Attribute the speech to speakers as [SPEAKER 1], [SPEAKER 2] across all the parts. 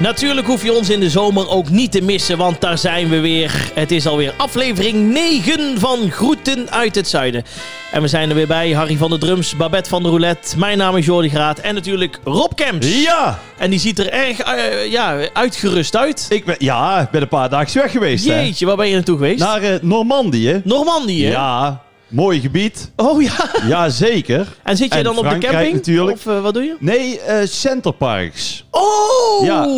[SPEAKER 1] Natuurlijk hoef je ons in de zomer ook niet te missen, want daar zijn we weer. Het is alweer aflevering 9 van Groeten uit het Zuiden. En we zijn er weer bij, Harry van de Drums, Babette van de Roulette, mijn naam is Jordi Graat en natuurlijk Rob Kemps.
[SPEAKER 2] Ja,
[SPEAKER 1] En die ziet er erg eh, ja, uitgerust uit.
[SPEAKER 2] ik ben, ja, ik ben een paar dagen weg geweest. Hè.
[SPEAKER 1] Jeetje, waar ben je naartoe geweest?
[SPEAKER 2] Naar eh, Normandië.
[SPEAKER 1] Normandië?
[SPEAKER 2] Ja, mooi gebied.
[SPEAKER 1] Oh ja.
[SPEAKER 2] Jazeker.
[SPEAKER 1] En zit je
[SPEAKER 2] En
[SPEAKER 1] dan op de
[SPEAKER 2] Frankrijk
[SPEAKER 1] camping?
[SPEAKER 2] natuurlijk.
[SPEAKER 1] Of eh, wat doe je?
[SPEAKER 2] Nee, eh Centerparks.
[SPEAKER 1] Oh!
[SPEAKER 2] Ja.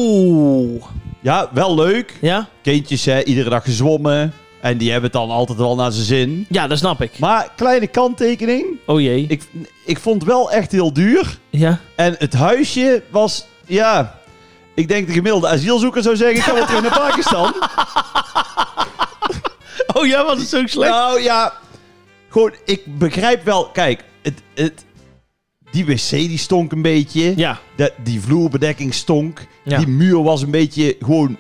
[SPEAKER 2] Ja, wel leuk.
[SPEAKER 1] ja?
[SPEAKER 2] Kindjes, hè, iedere dag gezwommen. En die hebben het dan altijd wel naar zijn zin.
[SPEAKER 1] Ja, dat snap ik.
[SPEAKER 2] Maar kleine kanttekening.
[SPEAKER 1] Oh jee.
[SPEAKER 2] Ik, ik vond het wel echt heel duur.
[SPEAKER 1] Ja.
[SPEAKER 2] En het huisje was, ja... Ik denk de gemiddelde asielzoeker zou zeggen, ik ga wel terug naar Pakistan.
[SPEAKER 1] Oh ja, was het zo slecht?
[SPEAKER 2] Nou ja, gewoon, ik begrijp wel. Kijk, het, het, die wc die stonk een beetje.
[SPEAKER 1] Ja.
[SPEAKER 2] De- die vloerbedekking stonk.
[SPEAKER 1] Ja.
[SPEAKER 2] Die muur was een beetje gewoon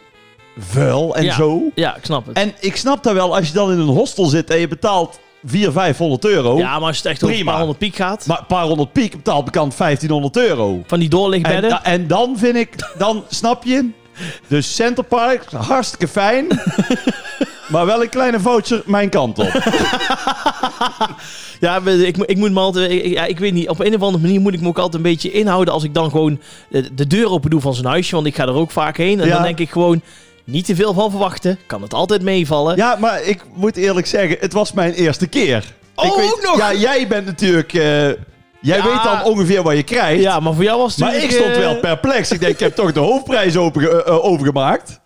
[SPEAKER 2] vuil en
[SPEAKER 1] Ja.
[SPEAKER 2] zo.
[SPEAKER 1] Ja, ik snap het.
[SPEAKER 2] En ik snap dat wel, als je dan in een hostel zit en je betaalt 400, 500 euro.
[SPEAKER 1] ja, maar als het echt over een
[SPEAKER 2] prima.
[SPEAKER 1] paar honderd piek gaat,
[SPEAKER 2] Maar een paar honderd piek betaalt bekend 1500 euro.
[SPEAKER 1] van die
[SPEAKER 2] En,
[SPEAKER 1] doorlichtbedden.
[SPEAKER 2] da- en dan vind ik, dan snap je. Dus Centerpark, hartstikke fijn. maar wel een kleine voucher mijn kant op.
[SPEAKER 1] Ja, we- ik, mo- ik moet me altijd, ik, ik- ja, ik weet niet, op een of andere manier moet ik me ook altijd een beetje inhouden als ik dan gewoon de, de deur open doe van zijn huisje, want ik ga er ook vaak heen. En
[SPEAKER 2] Ja.
[SPEAKER 1] dan denk ik gewoon, niet te veel van verwachten, kan het altijd meevallen.
[SPEAKER 2] Ja, maar ik moet eerlijk zeggen, het was mijn eerste keer.
[SPEAKER 1] Oh,
[SPEAKER 2] ik weet,
[SPEAKER 1] ook nog?
[SPEAKER 2] Ja, jij bent natuurlijk... eh, jij
[SPEAKER 1] Ja.
[SPEAKER 2] weet dan ongeveer wat je krijgt.
[SPEAKER 1] Ja, maar voor jou was het
[SPEAKER 2] maar ik
[SPEAKER 1] natuurlijk,
[SPEAKER 2] stond
[SPEAKER 1] eh,
[SPEAKER 2] wel perplex. Ik denk, ik heb toch de hoofdprijs open, eh, eh, overgemaakt.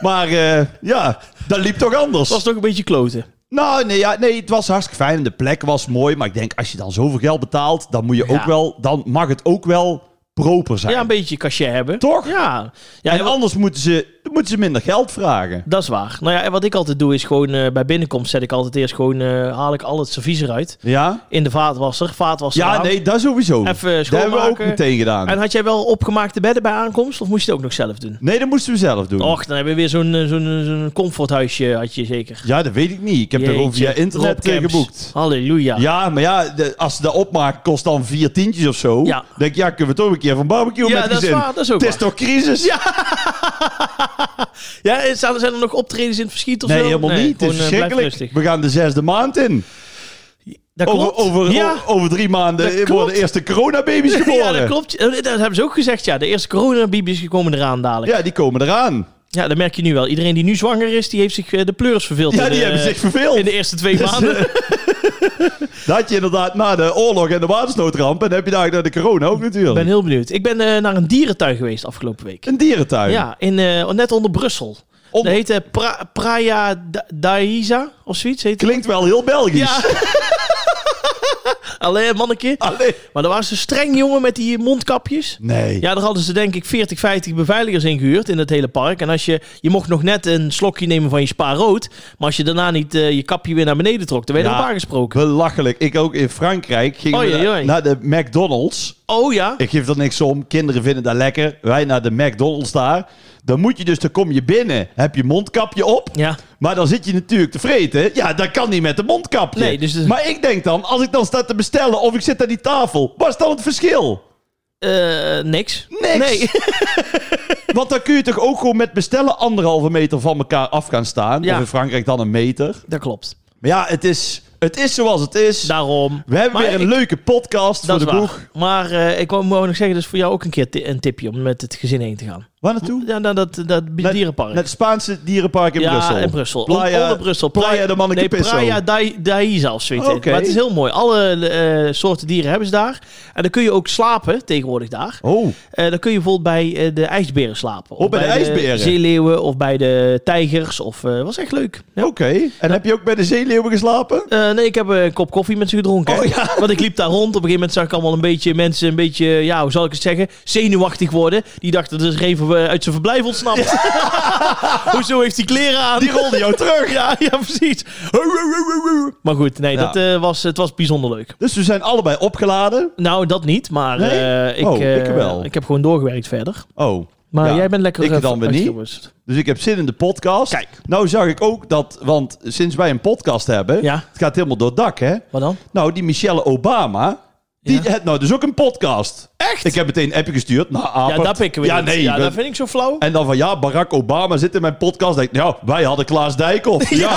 [SPEAKER 2] Maar eh, ja, dat liep toch anders.
[SPEAKER 1] Het was toch een beetje kloten.
[SPEAKER 2] Nou, nee, ja, nee, het was hartstikke fijn en de plek was mooi. Maar ik denk, als je dan zoveel geld betaalt, dan, moet je
[SPEAKER 1] Ja.
[SPEAKER 2] ook wel, dan mag het ook wel proper zijn.
[SPEAKER 1] Ja, een beetje cachet hebben.
[SPEAKER 2] Toch?
[SPEAKER 1] Ja. ja
[SPEAKER 2] En
[SPEAKER 1] en wat-
[SPEAKER 2] anders moeten ze, moeten ze minder geld vragen.
[SPEAKER 1] dat is waar. Nou ja, en wat ik altijd doe is gewoon eh, bij binnenkomst zet ik altijd eerst gewoon, eh, haal ik al het servies eruit.
[SPEAKER 2] Ja?
[SPEAKER 1] In de vaatwasser, vaatwasser
[SPEAKER 2] Ja,
[SPEAKER 1] aan.
[SPEAKER 2] nee, dat sowieso.
[SPEAKER 1] nou, Even
[SPEAKER 2] dat hebben we ook
[SPEAKER 1] schoonmaken.
[SPEAKER 2] meteen gedaan.
[SPEAKER 1] En had jij wel opgemaakte bedden bij aankomst? Of moest je het ook nog zelf doen?
[SPEAKER 2] Nee, dat moesten we zelf doen.
[SPEAKER 1] Och, dan hebben we weer zo'n eh, zo'n zo'n comforthuisje eh, had je zeker.
[SPEAKER 2] Ja, dat weet ik niet. Ik heb er
[SPEAKER 1] Jeetje,
[SPEAKER 2] over via internet
[SPEAKER 1] Rob
[SPEAKER 2] eh,
[SPEAKER 1] Camps.
[SPEAKER 2] geboekt.
[SPEAKER 1] Halleluja.
[SPEAKER 2] Ja, maar ja, de- als ze dat opmaakt, kost dan vier tientjes of zo.
[SPEAKER 1] Ja.
[SPEAKER 2] Denk ik, ja, kunnen we toch een keer van barbecue
[SPEAKER 1] Ja,
[SPEAKER 2] met
[SPEAKER 1] dat is
[SPEAKER 2] gezin.
[SPEAKER 1] waar, dat is ook
[SPEAKER 2] Het is
[SPEAKER 1] waar.
[SPEAKER 2] toch crisis? Ja,
[SPEAKER 1] Ja, en staan- zijn er nog optredens in het verschiet of
[SPEAKER 2] nee,
[SPEAKER 1] zo?
[SPEAKER 2] helemaal niet. Het
[SPEAKER 1] gewoon,
[SPEAKER 2] is
[SPEAKER 1] eh, blijf
[SPEAKER 2] verschrikkelijk.
[SPEAKER 1] rustig.
[SPEAKER 2] We gaan de zesde maand in.
[SPEAKER 1] Dat
[SPEAKER 2] Over,
[SPEAKER 1] klopt.
[SPEAKER 2] over,
[SPEAKER 1] ja.
[SPEAKER 2] o- over drie maanden
[SPEAKER 1] Dat
[SPEAKER 2] worden
[SPEAKER 1] klopt.
[SPEAKER 2] de eerste coronababies geboren.
[SPEAKER 1] Ja, dat klopt. Eh, Dat hebben ze ook gezegd, ja. De eerste coronabibies komen eraan dadelijk. Ja.
[SPEAKER 2] Ja, die komen eraan.
[SPEAKER 1] dat merk je nu wel. Iedereen die nu zwanger is, die heeft zich eh, de pleurs verveeld.
[SPEAKER 2] Ja,
[SPEAKER 1] in,
[SPEAKER 2] die
[SPEAKER 1] eh,
[SPEAKER 2] hebben zich verveeld.
[SPEAKER 1] In de eerste twee
[SPEAKER 2] Dus,
[SPEAKER 1] maanden.
[SPEAKER 2] eh, dat had je inderdaad na de oorlog en de watersnoodramp. En dan heb je daar naar de corona ook
[SPEAKER 1] Ik
[SPEAKER 2] natuurlijk.
[SPEAKER 1] ben heel benieuwd. Ik ben eh, naar een dierentuin geweest afgelopen week.
[SPEAKER 2] Een dierentuin.
[SPEAKER 1] Ja, in, eh, net onder Brussel.
[SPEAKER 2] Om-
[SPEAKER 1] Dat heette pra Praia Da- Daisa of zoiets. Heet
[SPEAKER 2] Klinkt wel heel Belgisch.
[SPEAKER 1] Ja. Allee, manneke.
[SPEAKER 2] Allee.
[SPEAKER 1] Maar er waren ze streng jongen met die mondkapjes.
[SPEAKER 2] Ah. Nee.
[SPEAKER 1] Ja, daar hadden ze denk ik 40, 50 beveiligers ingehuurd in het hele park. En als je, je mocht nog net een slokje nemen van je spa rood. Maar als je daarna niet eh, je kapje weer naar beneden trok, dan werd je
[SPEAKER 2] Ja.
[SPEAKER 1] erop aangesproken.
[SPEAKER 2] Belachelijk. Ik ook in Frankrijk ging
[SPEAKER 1] Oei,
[SPEAKER 2] we
[SPEAKER 1] oei.
[SPEAKER 2] naar de McDonald's.
[SPEAKER 1] Oh ja?
[SPEAKER 2] Ik geef er niks om. Kinderen vinden dat lekker. Wij naar de McDonald's daar. Dan moet je dus, dan kom je binnen. Heb je mondkapje op.
[SPEAKER 1] Ja.
[SPEAKER 2] Maar dan zit je natuurlijk te vreten. Ja, dat kan niet met de mondkapje.
[SPEAKER 1] Nee, dus-
[SPEAKER 2] Maar ik denk dan, als ik dan sta te bestellen of ik zit aan die tafel. Wat is dan het verschil?
[SPEAKER 1] Eh, niks.
[SPEAKER 2] Niks.
[SPEAKER 1] Nee.
[SPEAKER 2] Want dan kun je toch ook gewoon met bestellen anderhalve meter van elkaar af gaan staan.
[SPEAKER 1] Ja.
[SPEAKER 2] Of in Frankrijk dan een meter.
[SPEAKER 1] dat klopt.
[SPEAKER 2] Maar ja, het is, het is zoals het is.
[SPEAKER 1] Daarom.
[SPEAKER 2] we hebben
[SPEAKER 1] Maar
[SPEAKER 2] weer een
[SPEAKER 1] ik-
[SPEAKER 2] leuke podcast voor
[SPEAKER 1] Dat
[SPEAKER 2] de
[SPEAKER 1] is
[SPEAKER 2] boeg.
[SPEAKER 1] waar. Maar eh, ik wou wou nog zeggen, dus voor jou ook een keer ti- een tipje om met het gezin heen te gaan.
[SPEAKER 2] Waar naartoe?
[SPEAKER 1] Ja, naar dat, dat
[SPEAKER 2] Net-
[SPEAKER 1] dierenpark.
[SPEAKER 2] Net het Spaanse dierenpark in
[SPEAKER 1] ja,
[SPEAKER 2] Brussel.
[SPEAKER 1] in Brussel.
[SPEAKER 2] Playa,
[SPEAKER 1] Onder Brussel.
[SPEAKER 2] Playa de Manneke
[SPEAKER 1] nee,
[SPEAKER 2] Pisso.
[SPEAKER 1] Playa Dai- Daiza of zoiets.
[SPEAKER 2] Oké.
[SPEAKER 1] Maar het is heel mooi. Alle eh, soorten dieren hebben ze daar. En dan kun je ook slapen tegenwoordig daar.
[SPEAKER 2] Oh,
[SPEAKER 1] Eh, dan kun je bijvoorbeeld bij eh, de ijsberen slapen. Of
[SPEAKER 2] Oh, bij de ijsberen?
[SPEAKER 1] zeeleeuwen of bij de tijgers. Of, eh, was echt leuk. Ja.
[SPEAKER 2] oké. En heb je ook bij de zeeleeuwen geslapen?
[SPEAKER 1] Eh, nee, ik heb eh, een kop koffie met ze gedronken.
[SPEAKER 2] Oh, ja.
[SPEAKER 1] Want ik liep daar rond. Op een gegeven moment zag ik allemaal een beetje mensen, een beetje, ja, hoe zal ik het zeggen, zenuwachtig worden. Die dachten dat er even eh, uit zijn verblijf ontsnapt. Hoezo heeft hij kleren aan?
[SPEAKER 2] Die rolde jou terug.
[SPEAKER 1] Ja, ja, precies. Maar goed, nee,
[SPEAKER 2] Ja.
[SPEAKER 1] dat, eh, was, het was bijzonder leuk.
[SPEAKER 2] Dus we zijn allebei opgeladen.
[SPEAKER 1] Nou, dat niet, maar
[SPEAKER 2] Nee?
[SPEAKER 1] eh, ik,
[SPEAKER 2] Oh, ik
[SPEAKER 1] eh,
[SPEAKER 2] wel.
[SPEAKER 1] ik heb gewoon doorgewerkt verder.
[SPEAKER 2] Oh.
[SPEAKER 1] Maar
[SPEAKER 2] Ja,
[SPEAKER 1] jij bent lekker...
[SPEAKER 2] ik
[SPEAKER 1] eh,
[SPEAKER 2] dan weer niet.
[SPEAKER 1] uitgerust.
[SPEAKER 2] Dus ik heb zin in de podcast.
[SPEAKER 1] Kijk.
[SPEAKER 2] Nou zag ik ook dat, want sinds wij een podcast hebben,
[SPEAKER 1] Ja.
[SPEAKER 2] het gaat helemaal door het dak, hè?
[SPEAKER 1] Wat dan?
[SPEAKER 2] Nou, die Michelle Obama, die
[SPEAKER 1] Ja.
[SPEAKER 2] heeft nou dus ook een podcast.
[SPEAKER 1] Echt?
[SPEAKER 2] Ik heb meteen een appje gestuurd naar
[SPEAKER 1] ja,
[SPEAKER 2] Apert.
[SPEAKER 1] dat pikken we
[SPEAKER 2] ja,
[SPEAKER 1] niet.
[SPEAKER 2] Nee,
[SPEAKER 1] ja,
[SPEAKER 2] we-
[SPEAKER 1] dat vind ik zo flauw.
[SPEAKER 2] En dan van, ja, Barack Obama zit in mijn podcast. Denk, ik, ja, wij hadden Klaas Dijkhoff. Ja.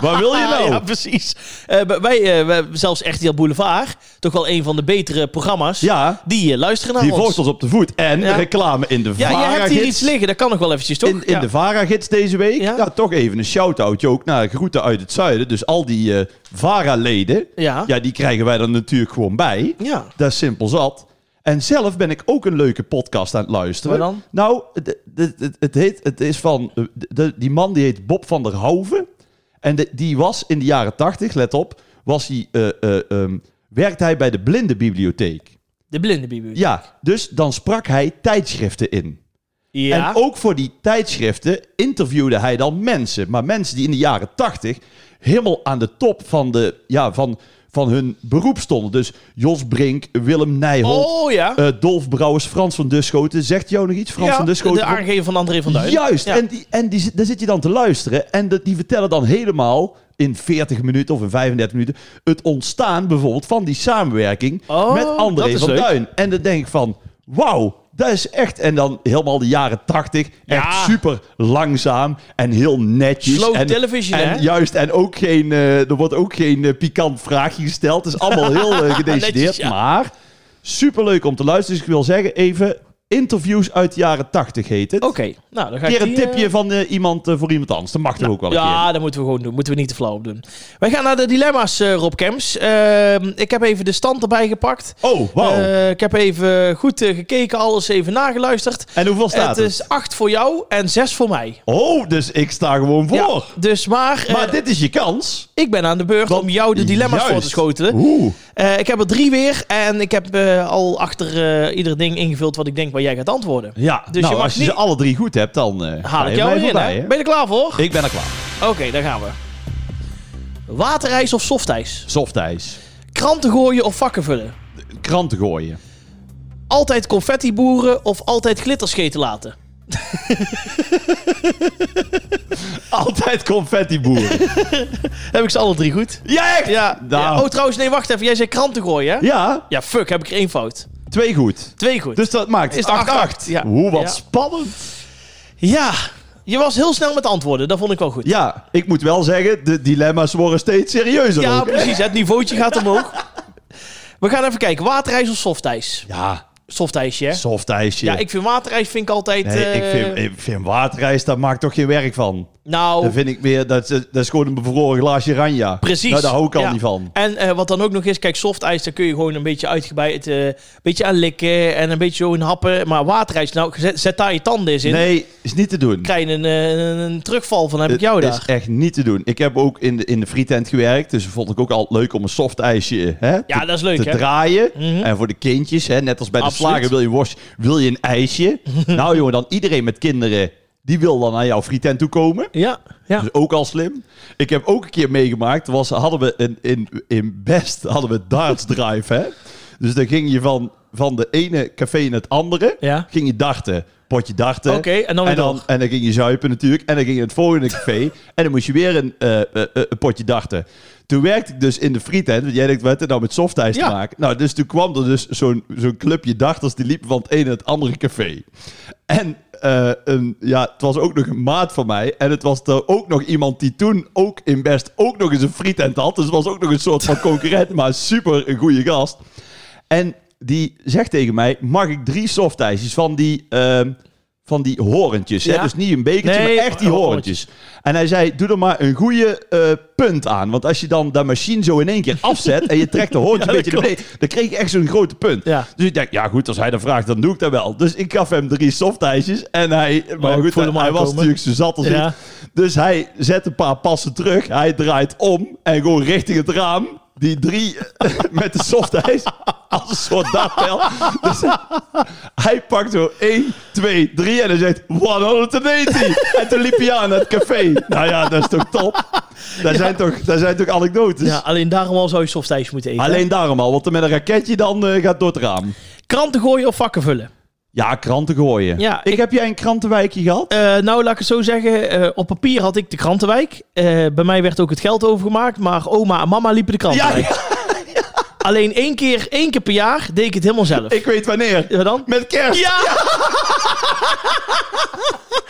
[SPEAKER 2] Waar wil je nou?
[SPEAKER 1] Ja, precies. Eh, b- wij, eh, wij- zelfs RTL Boulevard, toch wel een van de betere programma's,
[SPEAKER 2] Ja,
[SPEAKER 1] die eh, luisteren naar
[SPEAKER 2] die
[SPEAKER 1] ons.
[SPEAKER 2] volgt ons op de voet. En
[SPEAKER 1] Ja.
[SPEAKER 2] reclame in de
[SPEAKER 1] Ja, je hebt hier
[SPEAKER 2] Varagids.
[SPEAKER 1] iets liggen, dat kan nog wel eventjes, toch?
[SPEAKER 2] In, in
[SPEAKER 1] Ja.
[SPEAKER 2] de VARA-gids deze week.
[SPEAKER 1] Ja.
[SPEAKER 2] Ja. toch even een shout-outje ook naar Groeten uit het Zuiden. Dus al die eh, VARA-leden,
[SPEAKER 1] Ja.
[SPEAKER 2] ja, die krijgen wij er natuurlijk gewoon bij.
[SPEAKER 1] Ja.
[SPEAKER 2] Dat is simpel zat. En zelf ben ik ook een leuke podcast aan het luisteren.
[SPEAKER 1] Waar dan?
[SPEAKER 2] Nou, het, het, het- het heet, het is van... eh, de- die man die heet Bob van der Houven. En de- die was in de jaren tachtig, let op, was hij, eh, eh, ehm, werkte hij bij de blindenbibliotheek.
[SPEAKER 1] De blindenbibliotheek.
[SPEAKER 2] Ja, dus dan sprak hij tijdschriften in.
[SPEAKER 1] Ja.
[SPEAKER 2] En ook voor die tijdschriften interviewde hij dan mensen. Maar mensen die in de jaren tachtig helemaal aan de top van, de, ja, van, van hun beroep stonden. Dus Jos Brink, Willem Nijholt,
[SPEAKER 1] oh ja.
[SPEAKER 2] eh, Dolf Brouwers, Frans van Duschoten. Zegt jou nog iets? Frans
[SPEAKER 1] ja,
[SPEAKER 2] van Duschoten.
[SPEAKER 1] de aangever van André van Duin.
[SPEAKER 2] Juist,
[SPEAKER 1] Ja.
[SPEAKER 2] en, die, en die, zit- daar zit je dan te luisteren. En dat- die vertellen dan helemaal in 40 minuten of in 35 minuten... het ontstaan bijvoorbeeld van die samenwerking
[SPEAKER 1] Oh,
[SPEAKER 2] met
[SPEAKER 1] dat
[SPEAKER 2] André
[SPEAKER 1] is
[SPEAKER 2] van
[SPEAKER 1] leuk.
[SPEAKER 2] Duin. En dan denk ik van, wauw, dat is echt... En dan helemaal de jaren 80, echt
[SPEAKER 1] Ja.
[SPEAKER 2] super langzaam en heel netjes.
[SPEAKER 1] Slow
[SPEAKER 2] en,
[SPEAKER 1] television,
[SPEAKER 2] en
[SPEAKER 1] hè?
[SPEAKER 2] Juist, en ook geen, eh, er wordt ook geen eh, pikant vraagje gesteld. Het is allemaal heel eh, gedecideerd,
[SPEAKER 1] Netjes, ja.
[SPEAKER 2] maar superleuk om te luisteren. Dus ik wil zeggen, even... Interviews uit de jaren 80 heet het
[SPEAKER 1] Oké, nou dan ga
[SPEAKER 2] keer
[SPEAKER 1] ik
[SPEAKER 2] een
[SPEAKER 1] die, eh,
[SPEAKER 2] tipje van eh, iemand eh, voor iemand anders. Dat mag toch ook wel een keer.
[SPEAKER 1] Ja, dat moeten we gewoon doen. Moeten we niet te flauw op doen. Wij gaan naar de dilemma's, eh, Rob Kems. Ehm, ik heb even de stand erbij gepakt.
[SPEAKER 2] Oh, wauw.
[SPEAKER 1] Eh, ik heb even goed eh, gekeken, alles even nageluisterd.
[SPEAKER 2] en hoeveel staat
[SPEAKER 1] het
[SPEAKER 2] het?
[SPEAKER 1] is 8 voor jou en 6 voor mij.
[SPEAKER 2] Oh, dus ik sta gewoon voor.
[SPEAKER 1] Ja, dus maar, eh,
[SPEAKER 2] Maar dit is je kans.
[SPEAKER 1] ik ben aan de beurt om jou de dilemma's voor te
[SPEAKER 2] Juist.
[SPEAKER 1] schotelen.
[SPEAKER 2] Oeh.
[SPEAKER 1] Eh, ik heb er drie weer en ik heb eh, al achter eh, ieder ding ingevuld wat ik denk waar jij gaat antwoorden.
[SPEAKER 2] Ja,
[SPEAKER 1] je
[SPEAKER 2] dus
[SPEAKER 1] mag
[SPEAKER 2] als je
[SPEAKER 1] niet-
[SPEAKER 2] ze alle drie goed hebt, dan eh, ga
[SPEAKER 1] Haal
[SPEAKER 2] je
[SPEAKER 1] ik jou
[SPEAKER 2] mij
[SPEAKER 1] erin,
[SPEAKER 2] voorbij.
[SPEAKER 1] hè?
[SPEAKER 2] hè?
[SPEAKER 1] Ben je er klaar voor?
[SPEAKER 2] Ik ben er klaar.
[SPEAKER 1] Oké, daar gaan we. Waterijs of softijs?
[SPEAKER 2] Softijs.
[SPEAKER 1] Kranten gooien of vakken vullen?
[SPEAKER 2] Kranten gooien.
[SPEAKER 1] Altijd confetti boeren of altijd glitterscheten laten?
[SPEAKER 2] Altijd confetti boeren.
[SPEAKER 1] Heb ik ze alle drie goed?
[SPEAKER 2] ja, echt?
[SPEAKER 1] Ja.
[SPEAKER 2] Nou.
[SPEAKER 1] ja. Oh, trouwens, nee, wacht even. Jij zei kranten gooien, hè?
[SPEAKER 2] Ja,
[SPEAKER 1] Ja, fuck, heb ik er één fout.
[SPEAKER 2] twee goed.
[SPEAKER 1] Twee goed.
[SPEAKER 2] Dus dat maakt
[SPEAKER 1] Is
[SPEAKER 2] het
[SPEAKER 1] het
[SPEAKER 2] 8-8.
[SPEAKER 1] 8-8? Ja.
[SPEAKER 2] Hoe wat
[SPEAKER 1] Ja.
[SPEAKER 2] spannend.
[SPEAKER 1] Ja, je was heel snel met antwoorden. Dat vond ik wel goed.
[SPEAKER 2] Ja, ik moet wel zeggen, de dilemma's worden steeds serieuzer.
[SPEAKER 1] Ja,
[SPEAKER 2] ook, hè?
[SPEAKER 1] precies. Het niveautje gaat omhoog. We gaan even kijken. Waterijs of softijs?
[SPEAKER 2] Ja,
[SPEAKER 1] Softijsje, hè?
[SPEAKER 2] softijsje.
[SPEAKER 1] Ja, ik vind waterijs vind ik altijd...
[SPEAKER 2] Nee, ik,
[SPEAKER 1] eh,
[SPEAKER 2] vind, ik vind waterrijs, daar maak ik toch geen werk van.
[SPEAKER 1] Nou,
[SPEAKER 2] Dat vind ik meer, dat, is- dat is gewoon een bevroren glaasje ranja.
[SPEAKER 1] Precies.
[SPEAKER 2] Nou, daar hou ik al
[SPEAKER 1] Ja.
[SPEAKER 2] niet van.
[SPEAKER 1] En eh, wat dan ook nog is, kijk, softijs, daar kun je gewoon een beetje uitgebreid, eh, een beetje aan likken en een beetje zo in happen. Maar waterijs, nou, zet, zet daar je tanden eens in.
[SPEAKER 2] Nee, is niet te doen.
[SPEAKER 1] Krijg je een, eh, een, een terugval van, heb ik jou
[SPEAKER 2] Het
[SPEAKER 1] daar.
[SPEAKER 2] is echt niet te doen. Ik heb ook in de, in de frietent gewerkt, dus vond ik ook altijd leuk om een soft ijsje hè, te,
[SPEAKER 1] Ja, dat is leuk,
[SPEAKER 2] te
[SPEAKER 1] hè?
[SPEAKER 2] draaien.
[SPEAKER 1] Mhm.
[SPEAKER 2] En voor de kindjes, hè, net als bij de
[SPEAKER 1] Absoluut.
[SPEAKER 2] slager wil je, worst, wil je een ijsje. nou jongen, dan iedereen met kinderen, die wil dan aan jouw frietent toe komen.
[SPEAKER 1] Ja, ja.
[SPEAKER 2] Dus ook al slim. Ik heb ook een keer meegemaakt. Was, hadden we een, in, in Best hadden we darts drive. Hè? Dus dan ging je van, van de ene café naar het andere.
[SPEAKER 1] Ja.
[SPEAKER 2] Ging je darten. Potje darten.
[SPEAKER 1] Oké, en dan weer
[SPEAKER 2] en, dan,
[SPEAKER 1] door.
[SPEAKER 2] en dan ging je zuipen natuurlijk. En dan ging je naar het volgende café. en dan moest je weer een, eh, eh, eh, een potje darten. Toen werkte ik dus in de frietent. Want jij denkt, wat heeft het nou met softijs
[SPEAKER 1] Ja.
[SPEAKER 2] te maken? Nou, dus toen kwam er dus zo'n zo'n clubje darters. Die liepen van het ene naar het andere café. En eh, een, ja, het was ook nog een maat van mij. En het was er ook nog iemand die toen ook in Best ook nog eens een frietent had. Dus het was ook nog een soort van concurrent, maar super een goede gast. En die zegt tegen mij, mag ik drie softijsjes van die... ehm, van die horentjes. Hè?
[SPEAKER 1] Ja.
[SPEAKER 2] Dus niet een bekertje,
[SPEAKER 1] Nee, oh,
[SPEAKER 2] maar echt die
[SPEAKER 1] ho-
[SPEAKER 2] horentjes. En hij zei, doe er maar een goede eh, punt aan. Want als je dan dat machine zo in één keer afzet... en je trekt de horentje
[SPEAKER 1] Ja,
[SPEAKER 2] een
[SPEAKER 1] dat
[SPEAKER 2] beetje naar beneden... dan kreeg je echt zo'n grote punt.
[SPEAKER 1] Ja.
[SPEAKER 2] Dus ik denk, ja goed, als hij dat vraagt, dan doe ik dat wel. Dus ik gaf hem drie softijsjes en hij... Maar
[SPEAKER 1] Oh, ik
[SPEAKER 2] goed,
[SPEAKER 1] voel
[SPEAKER 2] hij,
[SPEAKER 1] hem
[SPEAKER 2] hij was
[SPEAKER 1] aankomen.
[SPEAKER 2] natuurlijk zo zat als
[SPEAKER 1] Ja.
[SPEAKER 2] ik. Dus hij zet een paar passen terug, hij draait om en gewoon richting het raam... Die drie met de softijs als een soort dartpijl. Dus hij pakt zo 1, 2, 3 en hij zegt 180. en toen liep hij aan het café. Nou ja, dat is toch top? Daar, zijn, toch, daar zijn toch anekdotes?
[SPEAKER 1] ja, alleen daarom al zou je softijs moeten eten.
[SPEAKER 2] Alleen daarom al, want met een raketje dan eh, gaat door het raam.
[SPEAKER 1] Kranten gooien of vakken vullen?
[SPEAKER 2] Ja, kranten gooien.
[SPEAKER 1] Ja,
[SPEAKER 2] ik, heb jij een krantenwijkje gehad?
[SPEAKER 1] Eh, nou, laat ik het zo zeggen. eh, op papier had ik de krantenwijk. Eh, bij mij werd ook het geld overgemaakt, maar oma en mama liepen de krantenwijk. Alleen één keer, één keer per jaar deed ik het helemaal zelf.
[SPEAKER 2] Ik weet wanneer.
[SPEAKER 1] Eh, Ja, dan?
[SPEAKER 2] Met kerst.
[SPEAKER 1] Ja!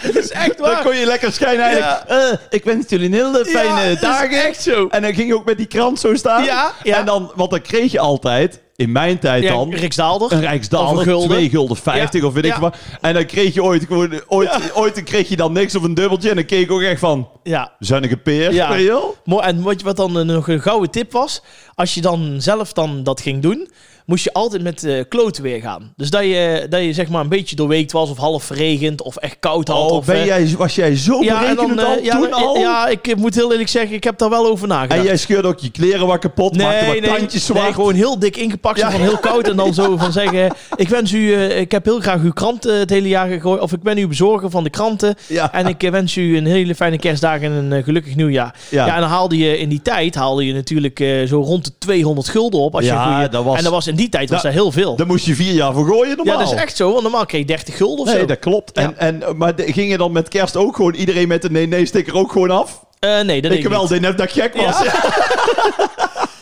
[SPEAKER 1] dat is echt
[SPEAKER 2] Dan
[SPEAKER 1] waar.
[SPEAKER 2] kon je lekker schijnheilig.
[SPEAKER 1] Ja.
[SPEAKER 2] eh, ik wens jullie een hele fijne
[SPEAKER 1] dat is
[SPEAKER 2] dagen.
[SPEAKER 1] echt zo.
[SPEAKER 2] En dan ging je ook met die krant zo staan.
[SPEAKER 1] Ja, ja.
[SPEAKER 2] En dan, want dan kreeg je altijd, in mijn tijd
[SPEAKER 1] Ja,
[SPEAKER 2] dan,
[SPEAKER 1] Riks Daalder.
[SPEAKER 2] een
[SPEAKER 1] Of
[SPEAKER 2] Rijksdaalder,
[SPEAKER 1] een gulden.
[SPEAKER 2] 2 gulden 50
[SPEAKER 1] Ja.
[SPEAKER 2] of weet ik
[SPEAKER 1] Ja.
[SPEAKER 2] wat. En dan kreeg je ooit, gewoon- ooit, ooit kreeg je dan niks of een dubbeltje. En dan keek ik ook echt van,
[SPEAKER 1] Ja.
[SPEAKER 2] zuinige peer,
[SPEAKER 1] Ja.
[SPEAKER 2] ja.
[SPEAKER 1] Mooi. En wat, wat dan een- nog een gouden tip was, als je dan zelf dan dat ging doen, moest je altijd met eh kloten weer gaan. Dus dat je, dat je zeg maar een beetje doorweekt was, of half verregend, of echt koud had.
[SPEAKER 2] Oh,
[SPEAKER 1] of,
[SPEAKER 2] ben
[SPEAKER 1] eh,
[SPEAKER 2] jij, was jij zo
[SPEAKER 1] ja, en
[SPEAKER 2] berekenend
[SPEAKER 1] dan, eh,
[SPEAKER 2] al,
[SPEAKER 1] ja,
[SPEAKER 2] toen
[SPEAKER 1] dan-
[SPEAKER 2] al?
[SPEAKER 1] ja, ik eh, moet heel eerlijk zeggen, ik heb daar wel over nagedacht.
[SPEAKER 2] En jij scheurde ook je kleren wat kapot, maakte wat tandjes zwart.
[SPEAKER 1] nee, gewoon heel dik ingepakt, zo
[SPEAKER 2] Ja.
[SPEAKER 1] van heel koud. En dan zo van zeggen, ik wens u, eh, ik heb heel graag uw krant eh, het hele jaar gegooid. Of ik ben uw bezorger van de kranten.
[SPEAKER 2] Ja.
[SPEAKER 1] En ik eh, wens u een hele fijne kerstdag en een eh, gelukkig nieuwjaar. Ja.
[SPEAKER 2] Ja.
[SPEAKER 1] en dan haalde je in die tijd, haalde je natuurlijk eh, zo rond de 200 gulden op. Als je
[SPEAKER 2] Ja,
[SPEAKER 1] een goeie-
[SPEAKER 2] dat was-
[SPEAKER 1] En dat was in die tijd was
[SPEAKER 2] Dat-
[SPEAKER 1] dat heel veel.
[SPEAKER 2] Daar moest je vier jaar voor gooien normaal.
[SPEAKER 1] ja, dus dat is echt zo. Want normaal kreeg je 30 gulden of zo.
[SPEAKER 2] Nee, dat klopt.
[SPEAKER 1] Ja.
[SPEAKER 2] En, en, maar de- ging je dan met kerst ook gewoon iedereen met een nee-nee-sticker ook gewoon af?
[SPEAKER 1] Eh, nee, dat denk
[SPEAKER 2] Ik
[SPEAKER 1] ik
[SPEAKER 2] wel,
[SPEAKER 1] niet.
[SPEAKER 2] die net dat ik gek was.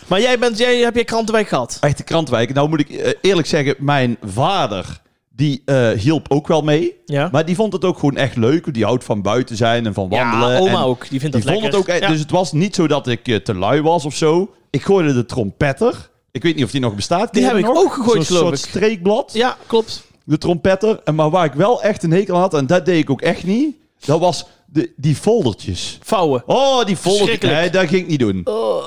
[SPEAKER 1] Maar jij, bent, jij heb je krantenwijk gehad.
[SPEAKER 2] Echte krantwijk. Nou moet ik eh, eerlijk zeggen, mijn vader, die eh, hielp ook wel mee.
[SPEAKER 1] Ja.
[SPEAKER 2] Maar die vond het ook gewoon echt leuk. Die houdt van buiten zijn en van wandelen.
[SPEAKER 1] ja,
[SPEAKER 2] en
[SPEAKER 1] oma ook. Die vindt
[SPEAKER 2] Die
[SPEAKER 1] dat
[SPEAKER 2] vond het
[SPEAKER 1] lekker.
[SPEAKER 2] ook, echt-
[SPEAKER 1] Ja.
[SPEAKER 2] Dus het was niet zo dat ik eh, te lui was of zo. Ik gooide de trompetter. Ik weet niet of die nog bestaat.
[SPEAKER 1] Die
[SPEAKER 2] Ken je
[SPEAKER 1] heb
[SPEAKER 2] dat
[SPEAKER 1] ik
[SPEAKER 2] nog?
[SPEAKER 1] ook gegooid,
[SPEAKER 2] Zo'n
[SPEAKER 1] geloof
[SPEAKER 2] soort
[SPEAKER 1] ik.
[SPEAKER 2] streekblad.
[SPEAKER 1] ja, klopt.
[SPEAKER 2] de trompetter. En maar waar ik wel echt een hekel aan had, en dat deed ik ook echt niet, dat was de, die foldertjes.
[SPEAKER 1] Vouwen.
[SPEAKER 2] Oh, die foldertjes.
[SPEAKER 1] Verschrikkelijk.
[SPEAKER 2] Nee, dat ging ik niet doen.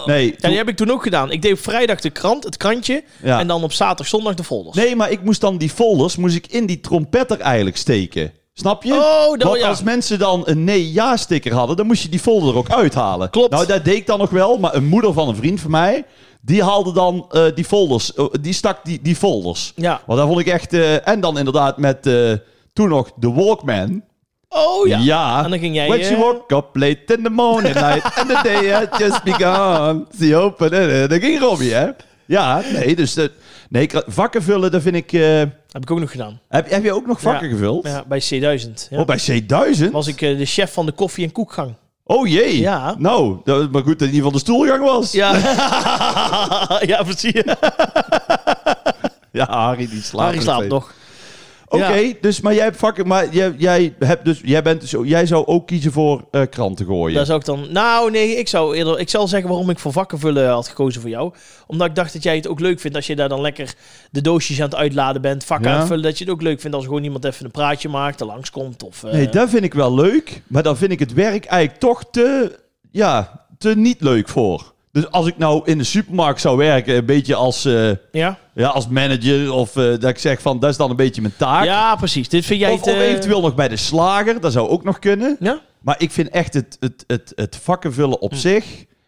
[SPEAKER 2] Nee,
[SPEAKER 1] Ja,
[SPEAKER 2] toen-
[SPEAKER 1] die heb ik toen ook gedaan. Ik deed op vrijdag de krant, het krantje.
[SPEAKER 2] Ja.
[SPEAKER 1] En dan op zaterdag, zondag de folders.
[SPEAKER 2] nee, maar ik moest dan die folders moest ik in die trompetter eigenlijk steken. Snap je?
[SPEAKER 1] Oh, dat-
[SPEAKER 2] Want
[SPEAKER 1] ja.
[SPEAKER 2] als mensen dan een nee-ja-sticker hadden, dan moest je die folder er ook uithalen.
[SPEAKER 1] Klopt.
[SPEAKER 2] Nou, dat deed ik dan nog wel, maar een moeder van een vriend van mij, die haalde dan eh, die folders, eh, die stak die, die folders.
[SPEAKER 1] Ja.
[SPEAKER 2] Want dat vond ik echt, eh, en dan inderdaad met eh, toen nog de Walkman.
[SPEAKER 1] Oh ja.
[SPEAKER 2] Ja.
[SPEAKER 1] En dan ging jij,
[SPEAKER 2] When she
[SPEAKER 1] eh,
[SPEAKER 2] woke up late in the morning night and the day had just begun. She opened it. eh, Dat ging Robbie, hè? Ja, nee, dus... eh, nee, kra- vakken vullen, dat vind ik... eh,
[SPEAKER 1] Heb ik ook nog gedaan.
[SPEAKER 2] heb, heb je ook nog vakken
[SPEAKER 1] Ja.
[SPEAKER 2] gevuld?
[SPEAKER 1] Ja, bij C1000. Ja.
[SPEAKER 2] Oh, bij C1000?
[SPEAKER 1] Was ik eh, de chef van de koffie- en koekgang.
[SPEAKER 2] Oh jee.
[SPEAKER 1] Ja.
[SPEAKER 2] Nou, dat, maar goed dat in ieder geval de stoelgang was. Ja,
[SPEAKER 1] Ja, ja precies.
[SPEAKER 2] Harry die slaapt.
[SPEAKER 1] Harry slaapt
[SPEAKER 2] steeds.
[SPEAKER 1] nog.
[SPEAKER 2] Oké,
[SPEAKER 1] Ja.
[SPEAKER 2] dus, maar jij hebt vakken... Maar jij, jij, hebt dus, jij, bent dus, jij zou ook kiezen voor eh, kranten gooien.
[SPEAKER 1] Daar zou ik dan... Nou, nee, ik zou eerder... Ik zal zeggen waarom ik voor vakken vullen had gekozen voor jou. Omdat ik dacht dat jij het ook leuk vindt als je daar dan lekker de doosjes aan het uitladen bent, vakken
[SPEAKER 2] Ja.
[SPEAKER 1] aan het vullen. Dat je het ook leuk vindt als gewoon iemand even een praatje maakt, er langskomt of... eh,
[SPEAKER 2] Nee, dat vind ik wel leuk. Maar dan vind ik het werk eigenlijk toch te, ja, te niet leuk voor. Dus als ik nou in de supermarkt zou werken, een beetje als, eh,
[SPEAKER 1] Ja?
[SPEAKER 2] ja, als manager, of eh, dat ik zeg van dat is dan een beetje mijn taak.
[SPEAKER 1] ja, precies. Dit vind jij
[SPEAKER 2] of,
[SPEAKER 1] het...
[SPEAKER 2] of
[SPEAKER 1] eh,
[SPEAKER 2] eventueel nog bij de slager, dat zou ook nog kunnen.
[SPEAKER 1] Ja?
[SPEAKER 2] Maar ik vind echt het, het, het, het vakken vullen
[SPEAKER 1] Hm.
[SPEAKER 2] op zich.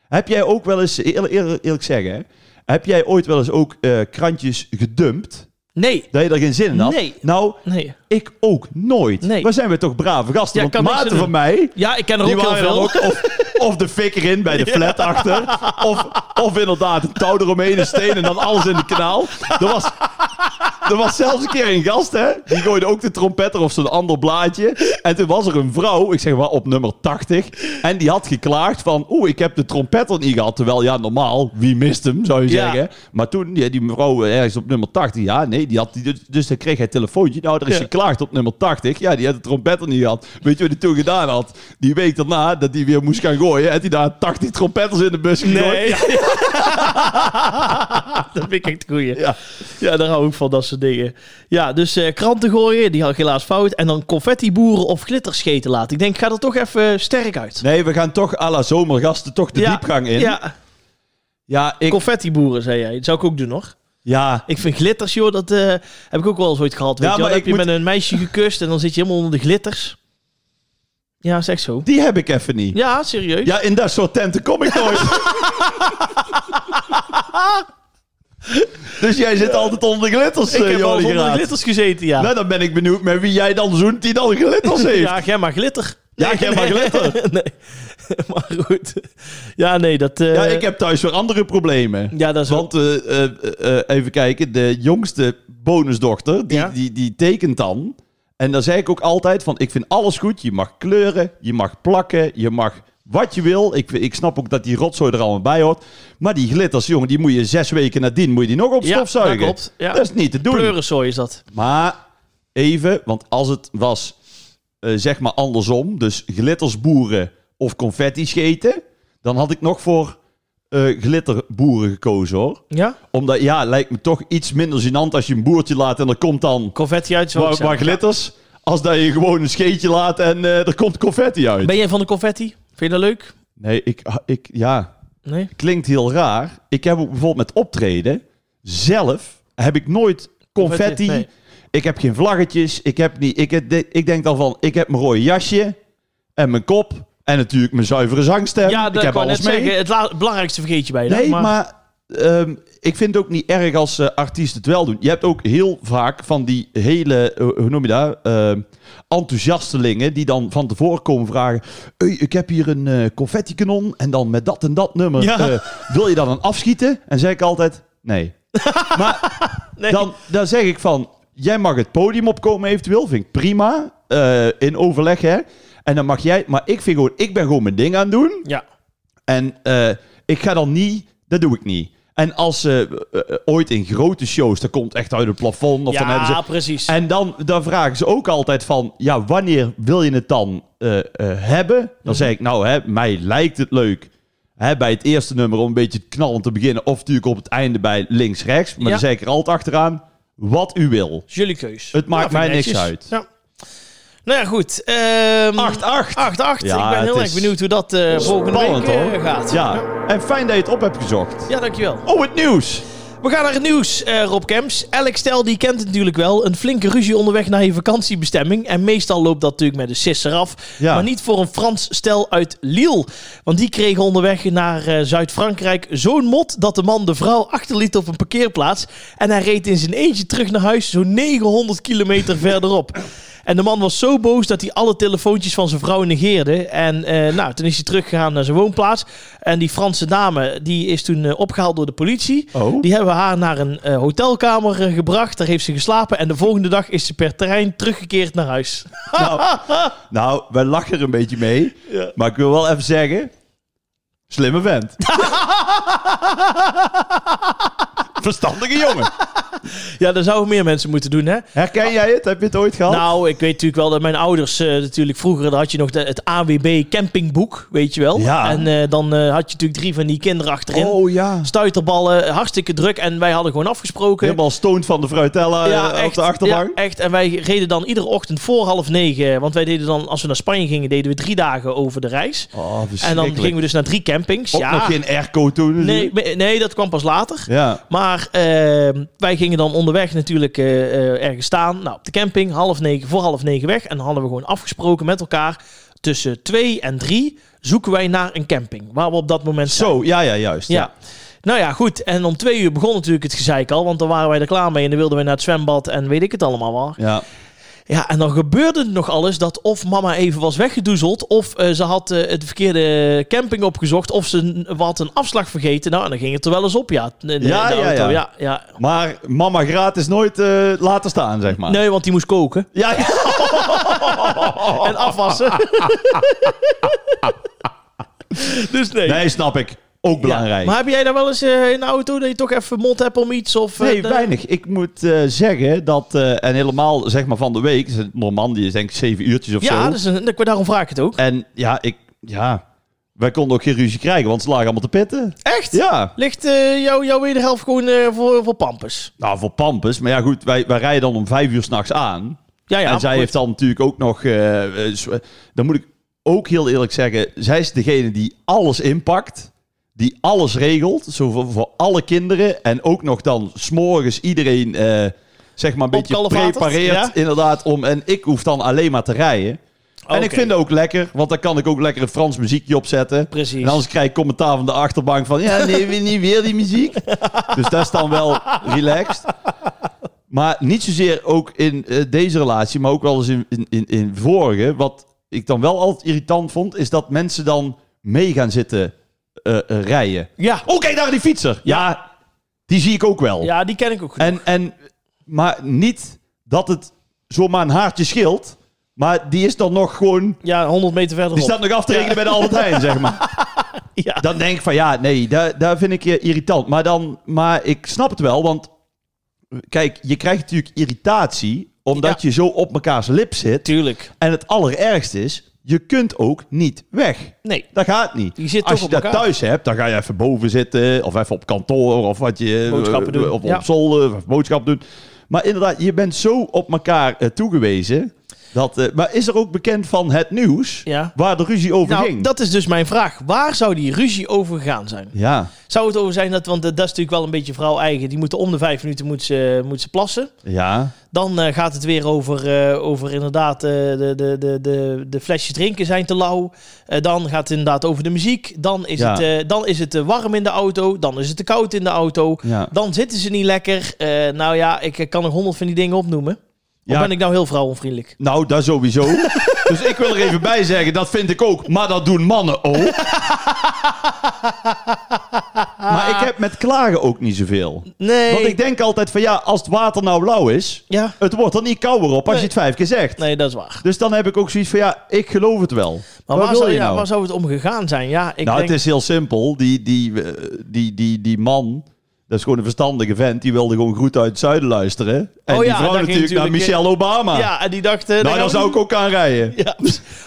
[SPEAKER 2] Heb jij ook wel eens, eerlijk, eerlijk, eerlijk zeggen, hè? heb jij ooit wel eens ook eh, krantjes gedumpt?
[SPEAKER 1] Nee.
[SPEAKER 2] Dat je er geen zin in had?
[SPEAKER 1] Nee.
[SPEAKER 2] Nou,
[SPEAKER 1] Nee.
[SPEAKER 2] ik ook nooit.
[SPEAKER 1] Nee.
[SPEAKER 2] Waar zijn we toch brave gasten?
[SPEAKER 1] Ja,
[SPEAKER 2] Want
[SPEAKER 1] kan niks
[SPEAKER 2] maten
[SPEAKER 1] doen.
[SPEAKER 2] van mij,
[SPEAKER 1] Ja, ik ken er
[SPEAKER 2] die
[SPEAKER 1] ook heel
[SPEAKER 2] waren dan
[SPEAKER 1] veel.
[SPEAKER 2] ook of, of de fik erin bij de flat achter. Of, of inderdaad een touw eromheen, een steen en dan alles in het kanaal. Er was, er was zelfs een keer een gast, hè. Die gooide ook de trompetter of zo'n ander blaadje. En toen was er een vrouw, ik zeg maar op nummer 80. En die had geklaagd van, oeh, ik heb de trompetter niet gehad. Terwijl, ja, normaal, wie mist hem, zou je
[SPEAKER 1] Ja.
[SPEAKER 2] zeggen. Maar toen, ja, die mevrouw eh, ergens op nummer 80, ja, nee, die had, die, dus, dus dan kreeg hij een telefoontje. Nou, er is
[SPEAKER 1] Ja.
[SPEAKER 2] geklaagd op nummer 80. Ja, die had de trompetter niet gehad. Weet je wat hij toen gedaan had? Die week daarna, dat hij weer moest gaan gooien, had hij daar 80 trompetters in de bus gegooid.
[SPEAKER 1] Nee. dat vind ik echt een goeie. Ja.
[SPEAKER 2] Ja.
[SPEAKER 1] daar hou ik van, dat soort dingen. Ja, dus eh, kranten gooien, die had ik helaas fout. En dan confetti boeren of glitterscheten laten. Ik denk, ik ga er toch even sterk uit.
[SPEAKER 2] Nee, we gaan toch à la zomergasten toch de diepgang in. Ja,
[SPEAKER 1] Ja,
[SPEAKER 2] ik...
[SPEAKER 1] confetti boeren, zei jij. Dat zou ik ook doen, hoor.
[SPEAKER 2] Ja,
[SPEAKER 1] Ik vind glitters, joh, dat eh, heb ik ook wel eens ooit gehad. Weet
[SPEAKER 2] Ja,
[SPEAKER 1] je wel. Dan
[SPEAKER 2] maar
[SPEAKER 1] heb
[SPEAKER 2] ik
[SPEAKER 1] je
[SPEAKER 2] moet-
[SPEAKER 1] met een meisje gekust en dan zit je helemaal onder de glitters. Ja, is echt zo.
[SPEAKER 2] die heb ik even niet.
[SPEAKER 1] Ja, serieus.
[SPEAKER 2] Ja, in dat soort tenten kom ik nooit. dus jij zit altijd onder de glitters,
[SPEAKER 1] ik
[SPEAKER 2] eh,
[SPEAKER 1] heb al
[SPEAKER 2] Jordi
[SPEAKER 1] onder de
[SPEAKER 2] Graat.
[SPEAKER 1] glitters gezeten, ja.
[SPEAKER 2] Nou, dan ben ik benieuwd met wie jij dan zoent die dan glitters heeft.
[SPEAKER 1] Ja, jij maar glitter.
[SPEAKER 2] Ja, jij maar glitter.
[SPEAKER 1] nee. Maar goed. Ja, nee, dat... eh,
[SPEAKER 2] Ja, ik heb thuis weer andere problemen.
[SPEAKER 1] Ja, dat is wel-
[SPEAKER 2] Want, eh, eh, eh, eh, even kijken, de jongste bonusdochter, die,
[SPEAKER 1] Ja.
[SPEAKER 2] die, die tekent dan. En dan zei ik ook altijd van, ik vind alles goed. Je mag kleuren, je mag plakken, je mag wat je wil. Ik, ik snap ook dat die rotzooi er allemaal bij hoort. Maar die glitters, jongen, die moet je zes weken nadien moet je die nog op
[SPEAKER 1] Ja,
[SPEAKER 2] stofzuigen.
[SPEAKER 1] dat klopt. Ja.
[SPEAKER 2] Dat is niet te doen.
[SPEAKER 1] Pleurenzooi is dat.
[SPEAKER 2] Maar even, want als het was eh, zeg maar andersom, dus glittersboeren of confetti scheten, dan had ik nog voor eh, glitterboeren gekozen hoor.
[SPEAKER 1] Ja?
[SPEAKER 2] Omdat ja, lijkt me toch iets minder gênant als je een boertje laat en er komt dan
[SPEAKER 1] Confetti uit
[SPEAKER 2] maar, maar glitters, als dat je gewoon een scheetje laat en eh, er komt confetti uit.
[SPEAKER 1] Ben jij van de confetti? Vind je dat leuk?
[SPEAKER 2] Nee, ik, ah, ik, ja,
[SPEAKER 1] Nee?
[SPEAKER 2] klinkt heel raar. Ik heb ook bijvoorbeeld met optreden zelf heb ik nooit confetti.
[SPEAKER 1] Confetti, nee.
[SPEAKER 2] Ik heb geen vlaggetjes. Ik heb niet. Ik, heb- ik denk dan van. Ik heb mijn rode jasje en mijn kop en natuurlijk mijn zuivere zangstem.
[SPEAKER 1] ja,
[SPEAKER 2] Eh, ik
[SPEAKER 1] dat
[SPEAKER 2] heb
[SPEAKER 1] kan
[SPEAKER 2] alles
[SPEAKER 1] net
[SPEAKER 2] mee.
[SPEAKER 1] zeggen. Het la- belangrijkste vergeet je bij.
[SPEAKER 2] nee, maar, ehm, ik vind het ook niet erg als eh, artiesten het wel doen. Je hebt ook heel vaak van die hele, eh, hoe noem je dat, Ehm, enthousiastelingen die dan van tevoren komen vragen... "Hey, ik heb hier een eh confetti-kanon en dan met dat en dat nummer.
[SPEAKER 1] Ja.
[SPEAKER 2] eh, wil je dat dan afschieten? En zeg ik altijd, nee.
[SPEAKER 1] Nee.
[SPEAKER 2] Dan, dan zeg ik van, jij mag het podium opkomen eventueel, vind ik prima, eh, in overleg hè. En dan mag jij, maar ik, vind gewoon, ik ben gewoon mijn ding aan het doen.
[SPEAKER 1] Ja.
[SPEAKER 2] En eh, ik ga dan niet, dat doe ik niet. En als ze eh, eh, ooit in grote shows, dat komt echt uit het plafond. Of dan hebben
[SPEAKER 1] Ja,
[SPEAKER 2] ze, Eh,
[SPEAKER 1] precies.
[SPEAKER 2] en dan, dan vragen ze ook altijd van, ja, wanneer wil je het dan eh, eh, hebben? Dan
[SPEAKER 1] Mhm.
[SPEAKER 2] zeg ik, nou, hè, mij lijkt het leuk hè, bij het eerste nummer om een beetje knallend te beginnen. Of natuurlijk op het einde bij links-rechts. Maar
[SPEAKER 1] Ja.
[SPEAKER 2] dan zeg ik er altijd achteraan, wat u wil. 8-8.
[SPEAKER 1] Is jullie keus.
[SPEAKER 2] Het maakt
[SPEAKER 1] vind ik
[SPEAKER 2] mij niks
[SPEAKER 1] netjes.
[SPEAKER 2] uit.
[SPEAKER 1] Ja. Nou ja, goed. Ehm 8-8.
[SPEAKER 2] Ja,
[SPEAKER 1] ik ben heel
[SPEAKER 2] het
[SPEAKER 1] erg
[SPEAKER 2] is
[SPEAKER 1] benieuwd hoe dat eh volgende
[SPEAKER 2] Spannend
[SPEAKER 1] week eh,
[SPEAKER 2] hoor.
[SPEAKER 1] gaat.
[SPEAKER 2] Ja, en fijn dat je het op hebt gezocht.
[SPEAKER 1] ja, dankjewel.
[SPEAKER 2] Oh, het nieuws!
[SPEAKER 1] We gaan naar het nieuws, eh, Rob Kemps. Elk stel die kent het natuurlijk wel. Een flinke ruzie onderweg naar je vakantiebestemming. En meestal loopt dat natuurlijk met een sisser af.
[SPEAKER 2] Ja.
[SPEAKER 1] Maar niet voor een Frans stel uit Lille. Want die kregen onderweg naar eh, Zuid-Frankrijk zo'n mot... dat de man de vrouw achterliet op een parkeerplaats. En hij reed in zijn eentje terug naar huis zo'n 900 kilometer verderop. En de man was zo boos dat hij alle telefoontjes van zijn vrouw negeerde. En eh, nou, toen is hij teruggegaan naar zijn woonplaats. En die Franse dame die is toen eh, opgehaald door de politie.
[SPEAKER 2] Oh.
[SPEAKER 1] Die hebben haar naar een eh, hotelkamer eh, gebracht. Daar heeft ze geslapen. En de volgende dag is ze per terrein teruggekeerd naar huis.
[SPEAKER 2] Nou, nou, wij lachen er een beetje mee.
[SPEAKER 1] Ja.
[SPEAKER 2] Maar ik wil wel even zeggen... Slimme vent. Verstandige jongen.
[SPEAKER 1] Ja, dat zouden meer mensen moeten doen, hè?
[SPEAKER 2] Herken jij het? Heb je het ooit gehad?
[SPEAKER 1] Nou, ik weet natuurlijk wel dat mijn ouders eh, natuurlijk vroeger... daar had je nog de- het AWB campingboek, weet je wel.
[SPEAKER 2] Ja.
[SPEAKER 1] En eh, dan eh, had je natuurlijk drie van die kinderen achterin.
[SPEAKER 2] oh ja.
[SPEAKER 1] Stuiterballen, eh, hartstikke druk. En wij hadden gewoon afgesproken...
[SPEAKER 2] Helemaal stoned van de fruitella eh, op de achterbank.
[SPEAKER 1] Ja, echt. En wij reden dan iedere ochtend voor half negen. eh, Want wij deden dan, als we naar Spanje gingen, deden we drie dagen over de reis.
[SPEAKER 2] Oh, verschrikkelijk.
[SPEAKER 1] En dan gingen we dus naar drie campings.
[SPEAKER 2] Ook
[SPEAKER 1] ja.
[SPEAKER 2] nog geen airco toen.
[SPEAKER 1] nee, me- nee, dat kwam pas later.
[SPEAKER 2] Ja.
[SPEAKER 1] Maar ehm, wij gingen dan onderweg natuurlijk eh, eh, ergens staan. Nou, op de camping, half negen, voor half negen weg. En dan hadden we gewoon afgesproken met elkaar. Tussen twee en drie zoeken wij naar een camping. Waar we op dat moment zijn.
[SPEAKER 2] Zo, ja, ja, juist.
[SPEAKER 1] Ja. Nou ja, goed. En om twee uur begon natuurlijk het gezeik al. Want dan waren wij er klaar mee. En dan wilden we naar het zwembad en weet ik het allemaal wel.
[SPEAKER 2] Ja.
[SPEAKER 1] Ja, en dan gebeurde er nog alles dat of mama even was weggedoezeld... of eh, ze had eh, het verkeerde camping opgezocht... of ze n- had een afslag vergeten. Nou, en dan ging het er wel eens op, ja. in de- in de
[SPEAKER 2] Ja, ja,
[SPEAKER 1] auto.
[SPEAKER 2] ja.
[SPEAKER 1] ja, ja.
[SPEAKER 2] Maar mama gratis nooit eh, laten staan, zeg maar.
[SPEAKER 1] Nee, want die moest koken
[SPEAKER 2] Ja, ja.
[SPEAKER 1] en afwassen. dus nee.
[SPEAKER 2] Nee, snap ik. Ook
[SPEAKER 1] Ja.
[SPEAKER 2] belangrijk.
[SPEAKER 1] Maar heb jij daar wel eens eh, in de auto dat je toch even mond hebt om iets? Of, eh,
[SPEAKER 2] Nee,
[SPEAKER 1] de-
[SPEAKER 2] weinig. Ik moet eh, zeggen dat, eh, en helemaal zeg maar van de week, dus Normandie is denk ik zeven uurtjes of zo.
[SPEAKER 1] Ja, dat is een, dat- daarom vraag ik het ook.
[SPEAKER 2] En ja, ik, ja, wij konden ook geen ruzie krijgen, want ze lagen allemaal te pitten.
[SPEAKER 1] Echt?
[SPEAKER 2] Ja,
[SPEAKER 1] Ligt eh jou, jouw wederhelft gewoon eh, voor, voor pampers?
[SPEAKER 2] nou voor Pampus. Maar ja goed, wij, wij rijden dan om vijf uur s'nachts aan.
[SPEAKER 1] Ja, ja.
[SPEAKER 2] en zij
[SPEAKER 1] goed.
[SPEAKER 2] heeft dan natuurlijk ook nog, eh, eh, zo- dan moet ik ook heel eerlijk zeggen, zij is degene die alles inpakt. Die alles regelt, zo voor, voor alle kinderen. En ook nog dan s'morgens iedereen eh, zeg maar een beetje
[SPEAKER 1] Opkalefaterd,
[SPEAKER 2] prepareert.
[SPEAKER 1] ja.
[SPEAKER 2] Inderdaad, om, en ik hoef dan alleen maar te rijden. En ik
[SPEAKER 1] Oké.
[SPEAKER 2] vind het ook lekker, want dan kan ik ook lekker een Frans muziekje opzetten.
[SPEAKER 1] Precies.
[SPEAKER 2] En anders krijg ik commentaar van de achterbank van... Ja, nee, weer niet weer die muziek. dus dat is dan wel relaxed. Maar niet zozeer ook in eh, deze relatie, maar ook wel eens in, in, in, in vorige. Wat ik dan wel altijd irritant vond, is dat mensen dan mee gaan zitten eh, eh, rijden.
[SPEAKER 1] Ja.
[SPEAKER 2] Oh, kijk daar, die fietser. Ja, die zie ik ook wel.
[SPEAKER 1] ja, die ken ik ook goed.
[SPEAKER 2] En, en, maar niet dat het zomaar een haartje scheelt. Maar die is dan nog gewoon...
[SPEAKER 1] Ja, 100 meter verderop.
[SPEAKER 2] Die staat nog af te rekenen bij de Albert Heijn, zeg maar.
[SPEAKER 1] Ja.
[SPEAKER 2] Dan denk ik van, ja, nee, daar, daar vind ik je irritant. Maar, dan, maar ik snap het wel, want... Kijk, je krijgt natuurlijk irritatie... omdat je zo op mekaars lip zit.
[SPEAKER 1] Tuurlijk.
[SPEAKER 2] En het allerergste is, je kunt ook niet weg.
[SPEAKER 1] Nee.
[SPEAKER 2] Dat gaat niet.
[SPEAKER 1] Je zit
[SPEAKER 2] Als
[SPEAKER 1] toch
[SPEAKER 2] je
[SPEAKER 1] op
[SPEAKER 2] dat
[SPEAKER 1] elkaar.
[SPEAKER 2] thuis hebt, dan ga je even boven zitten. Of even op kantoor. Of wat je.
[SPEAKER 1] Boodschappen doen.
[SPEAKER 2] Of
[SPEAKER 1] Ja.
[SPEAKER 2] op zolder. Of boodschappen doen. Maar inderdaad, je bent zo op elkaar eh, toegewezen. Dat, eh, maar is er ook bekend van het nieuws
[SPEAKER 1] Ja.
[SPEAKER 2] waar de ruzie over
[SPEAKER 1] Nou,
[SPEAKER 2] ging?
[SPEAKER 1] dat is dus mijn vraag. Waar zou die ruzie over gegaan zijn?
[SPEAKER 2] Ja,
[SPEAKER 1] Zou het over zijn dat, want eh, dat is natuurlijk wel een beetje vrouw eigen. Die moeten om de vijf minuten moet ze, moet ze plassen.
[SPEAKER 2] ja.
[SPEAKER 1] Dan eh, gaat het weer over, eh, over inderdaad eh, de, de, de, de, de flesjes drinken zijn te lauw. Eh, dan gaat het inderdaad over de muziek. Dan is
[SPEAKER 2] Ja.
[SPEAKER 1] het, eh, dan is het te warm in de auto. Dan is het te koud in de auto.
[SPEAKER 2] ja.
[SPEAKER 1] Dan zitten ze niet lekker. Eh, nou ja, ik eh, kan nog honderd van die dingen opnoemen.
[SPEAKER 2] Ja.
[SPEAKER 1] Of ben ik nou heel vrouwonvriendelijk?
[SPEAKER 2] Nou, dat sowieso. dus ik wil er even bij zeggen, dat vind ik ook. Maar dat doen mannen ook. maar ik heb met klagen ook niet zoveel.
[SPEAKER 1] Nee.
[SPEAKER 2] Want ik denk altijd van ja, als het water nou blauw is,
[SPEAKER 1] Ja,
[SPEAKER 2] het wordt er niet kouder op als
[SPEAKER 1] Nee.
[SPEAKER 2] je het vijf keer zegt.
[SPEAKER 1] nee, dat is waar.
[SPEAKER 2] Dus dan heb ik ook zoiets van ja, ik geloof het wel.
[SPEAKER 1] Maar
[SPEAKER 2] Wat
[SPEAKER 1] waar
[SPEAKER 2] wil
[SPEAKER 1] zou,
[SPEAKER 2] je
[SPEAKER 1] ja,
[SPEAKER 2] nou?
[SPEAKER 1] waar zou het om gegaan zijn? Ja, ik
[SPEAKER 2] nou,
[SPEAKER 1] denk...
[SPEAKER 2] het is heel simpel. Die, die, eh, die, die, die man, dat is gewoon een verstandige vent, die wilde gewoon goed uit het zuiden luisteren. En
[SPEAKER 1] Oh
[SPEAKER 2] die
[SPEAKER 1] ja,
[SPEAKER 2] vrouw
[SPEAKER 1] daar
[SPEAKER 2] natuurlijk,
[SPEAKER 1] ging
[SPEAKER 2] naar
[SPEAKER 1] natuurlijk-
[SPEAKER 2] Michelle Obama.
[SPEAKER 1] Ja, en die dacht... eh, daar
[SPEAKER 2] ah. nou,
[SPEAKER 1] gaan
[SPEAKER 2] dan
[SPEAKER 1] we
[SPEAKER 2] zou ik ook aanrijden.
[SPEAKER 1] Ja.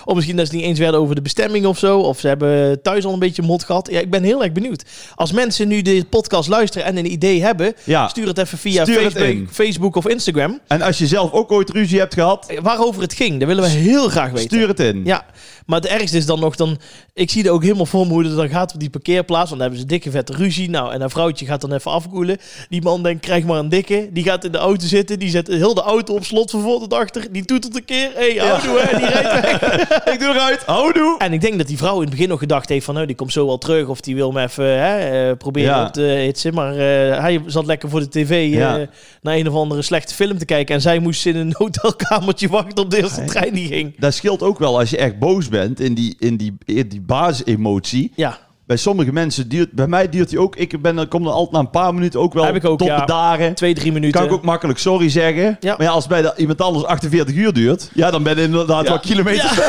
[SPEAKER 1] Of misschien dat ze niet eens werden over de bestemming of zo. Of ze hebben thuis al een beetje mot gehad. Ja, ik ben heel erg benieuwd. Als mensen nu de podcast luisteren en een idee hebben,
[SPEAKER 2] Ja.
[SPEAKER 1] stuur het even via
[SPEAKER 2] Stuur het in.
[SPEAKER 1] Facebook, Facebook of Instagram.
[SPEAKER 2] En als je zelf ook ooit ruzie hebt gehad,
[SPEAKER 1] Eh, Waarover het ging, dat willen we heel graag weten.
[SPEAKER 2] stuur het in.
[SPEAKER 1] Ja, maar het ergste is dan nog, dan, ik zie er ook helemaal voor me hoe het dan gaat op die parkeerplaats. Want dan hebben ze dikke vette ruzie. Nou, en dat vrouwtje gaat dan even afkoelen. Die man denkt, krijg maar een dikke. Die gaat in de auto zitten, die zet heel de auto op slot van voor tot achter. Die toetelt een keer, hé, hey, houdoe, hè, die rijdt weg.
[SPEAKER 2] Ik doe eruit. Houdoe.
[SPEAKER 1] En ik denk dat die vrouw in het begin nog gedacht heeft van... nou die komt zo wel terug of die wil me even hè, eh, proberen
[SPEAKER 2] Ja.
[SPEAKER 1] op te hitsen. Maar eh, hij zat lekker voor de tv eh,
[SPEAKER 2] Ja.
[SPEAKER 1] naar een of andere slechte film te kijken. En zij moest in een hotelkamertje wachten op de eerste trein die ging.
[SPEAKER 2] Dat scheelt ook wel als je echt boos bent in die, in die, in die baasemotie.
[SPEAKER 1] Ja,
[SPEAKER 2] Bij sommige mensen duurt, bij mij duurt die ook, ik ben, er- kom er altijd na een paar minuten ook wel
[SPEAKER 1] Heb ik ook,
[SPEAKER 2] tot
[SPEAKER 1] ja.
[SPEAKER 2] de dagen.
[SPEAKER 1] twee, drie minuten.
[SPEAKER 2] Kan ik ook makkelijk sorry zeggen.
[SPEAKER 1] Ja.
[SPEAKER 2] Maar ja, als het bij de- iemand anders 48 uur duurt, ja, dan ben je inderdaad
[SPEAKER 1] Ja.
[SPEAKER 2] wel kilometers.
[SPEAKER 1] Ja.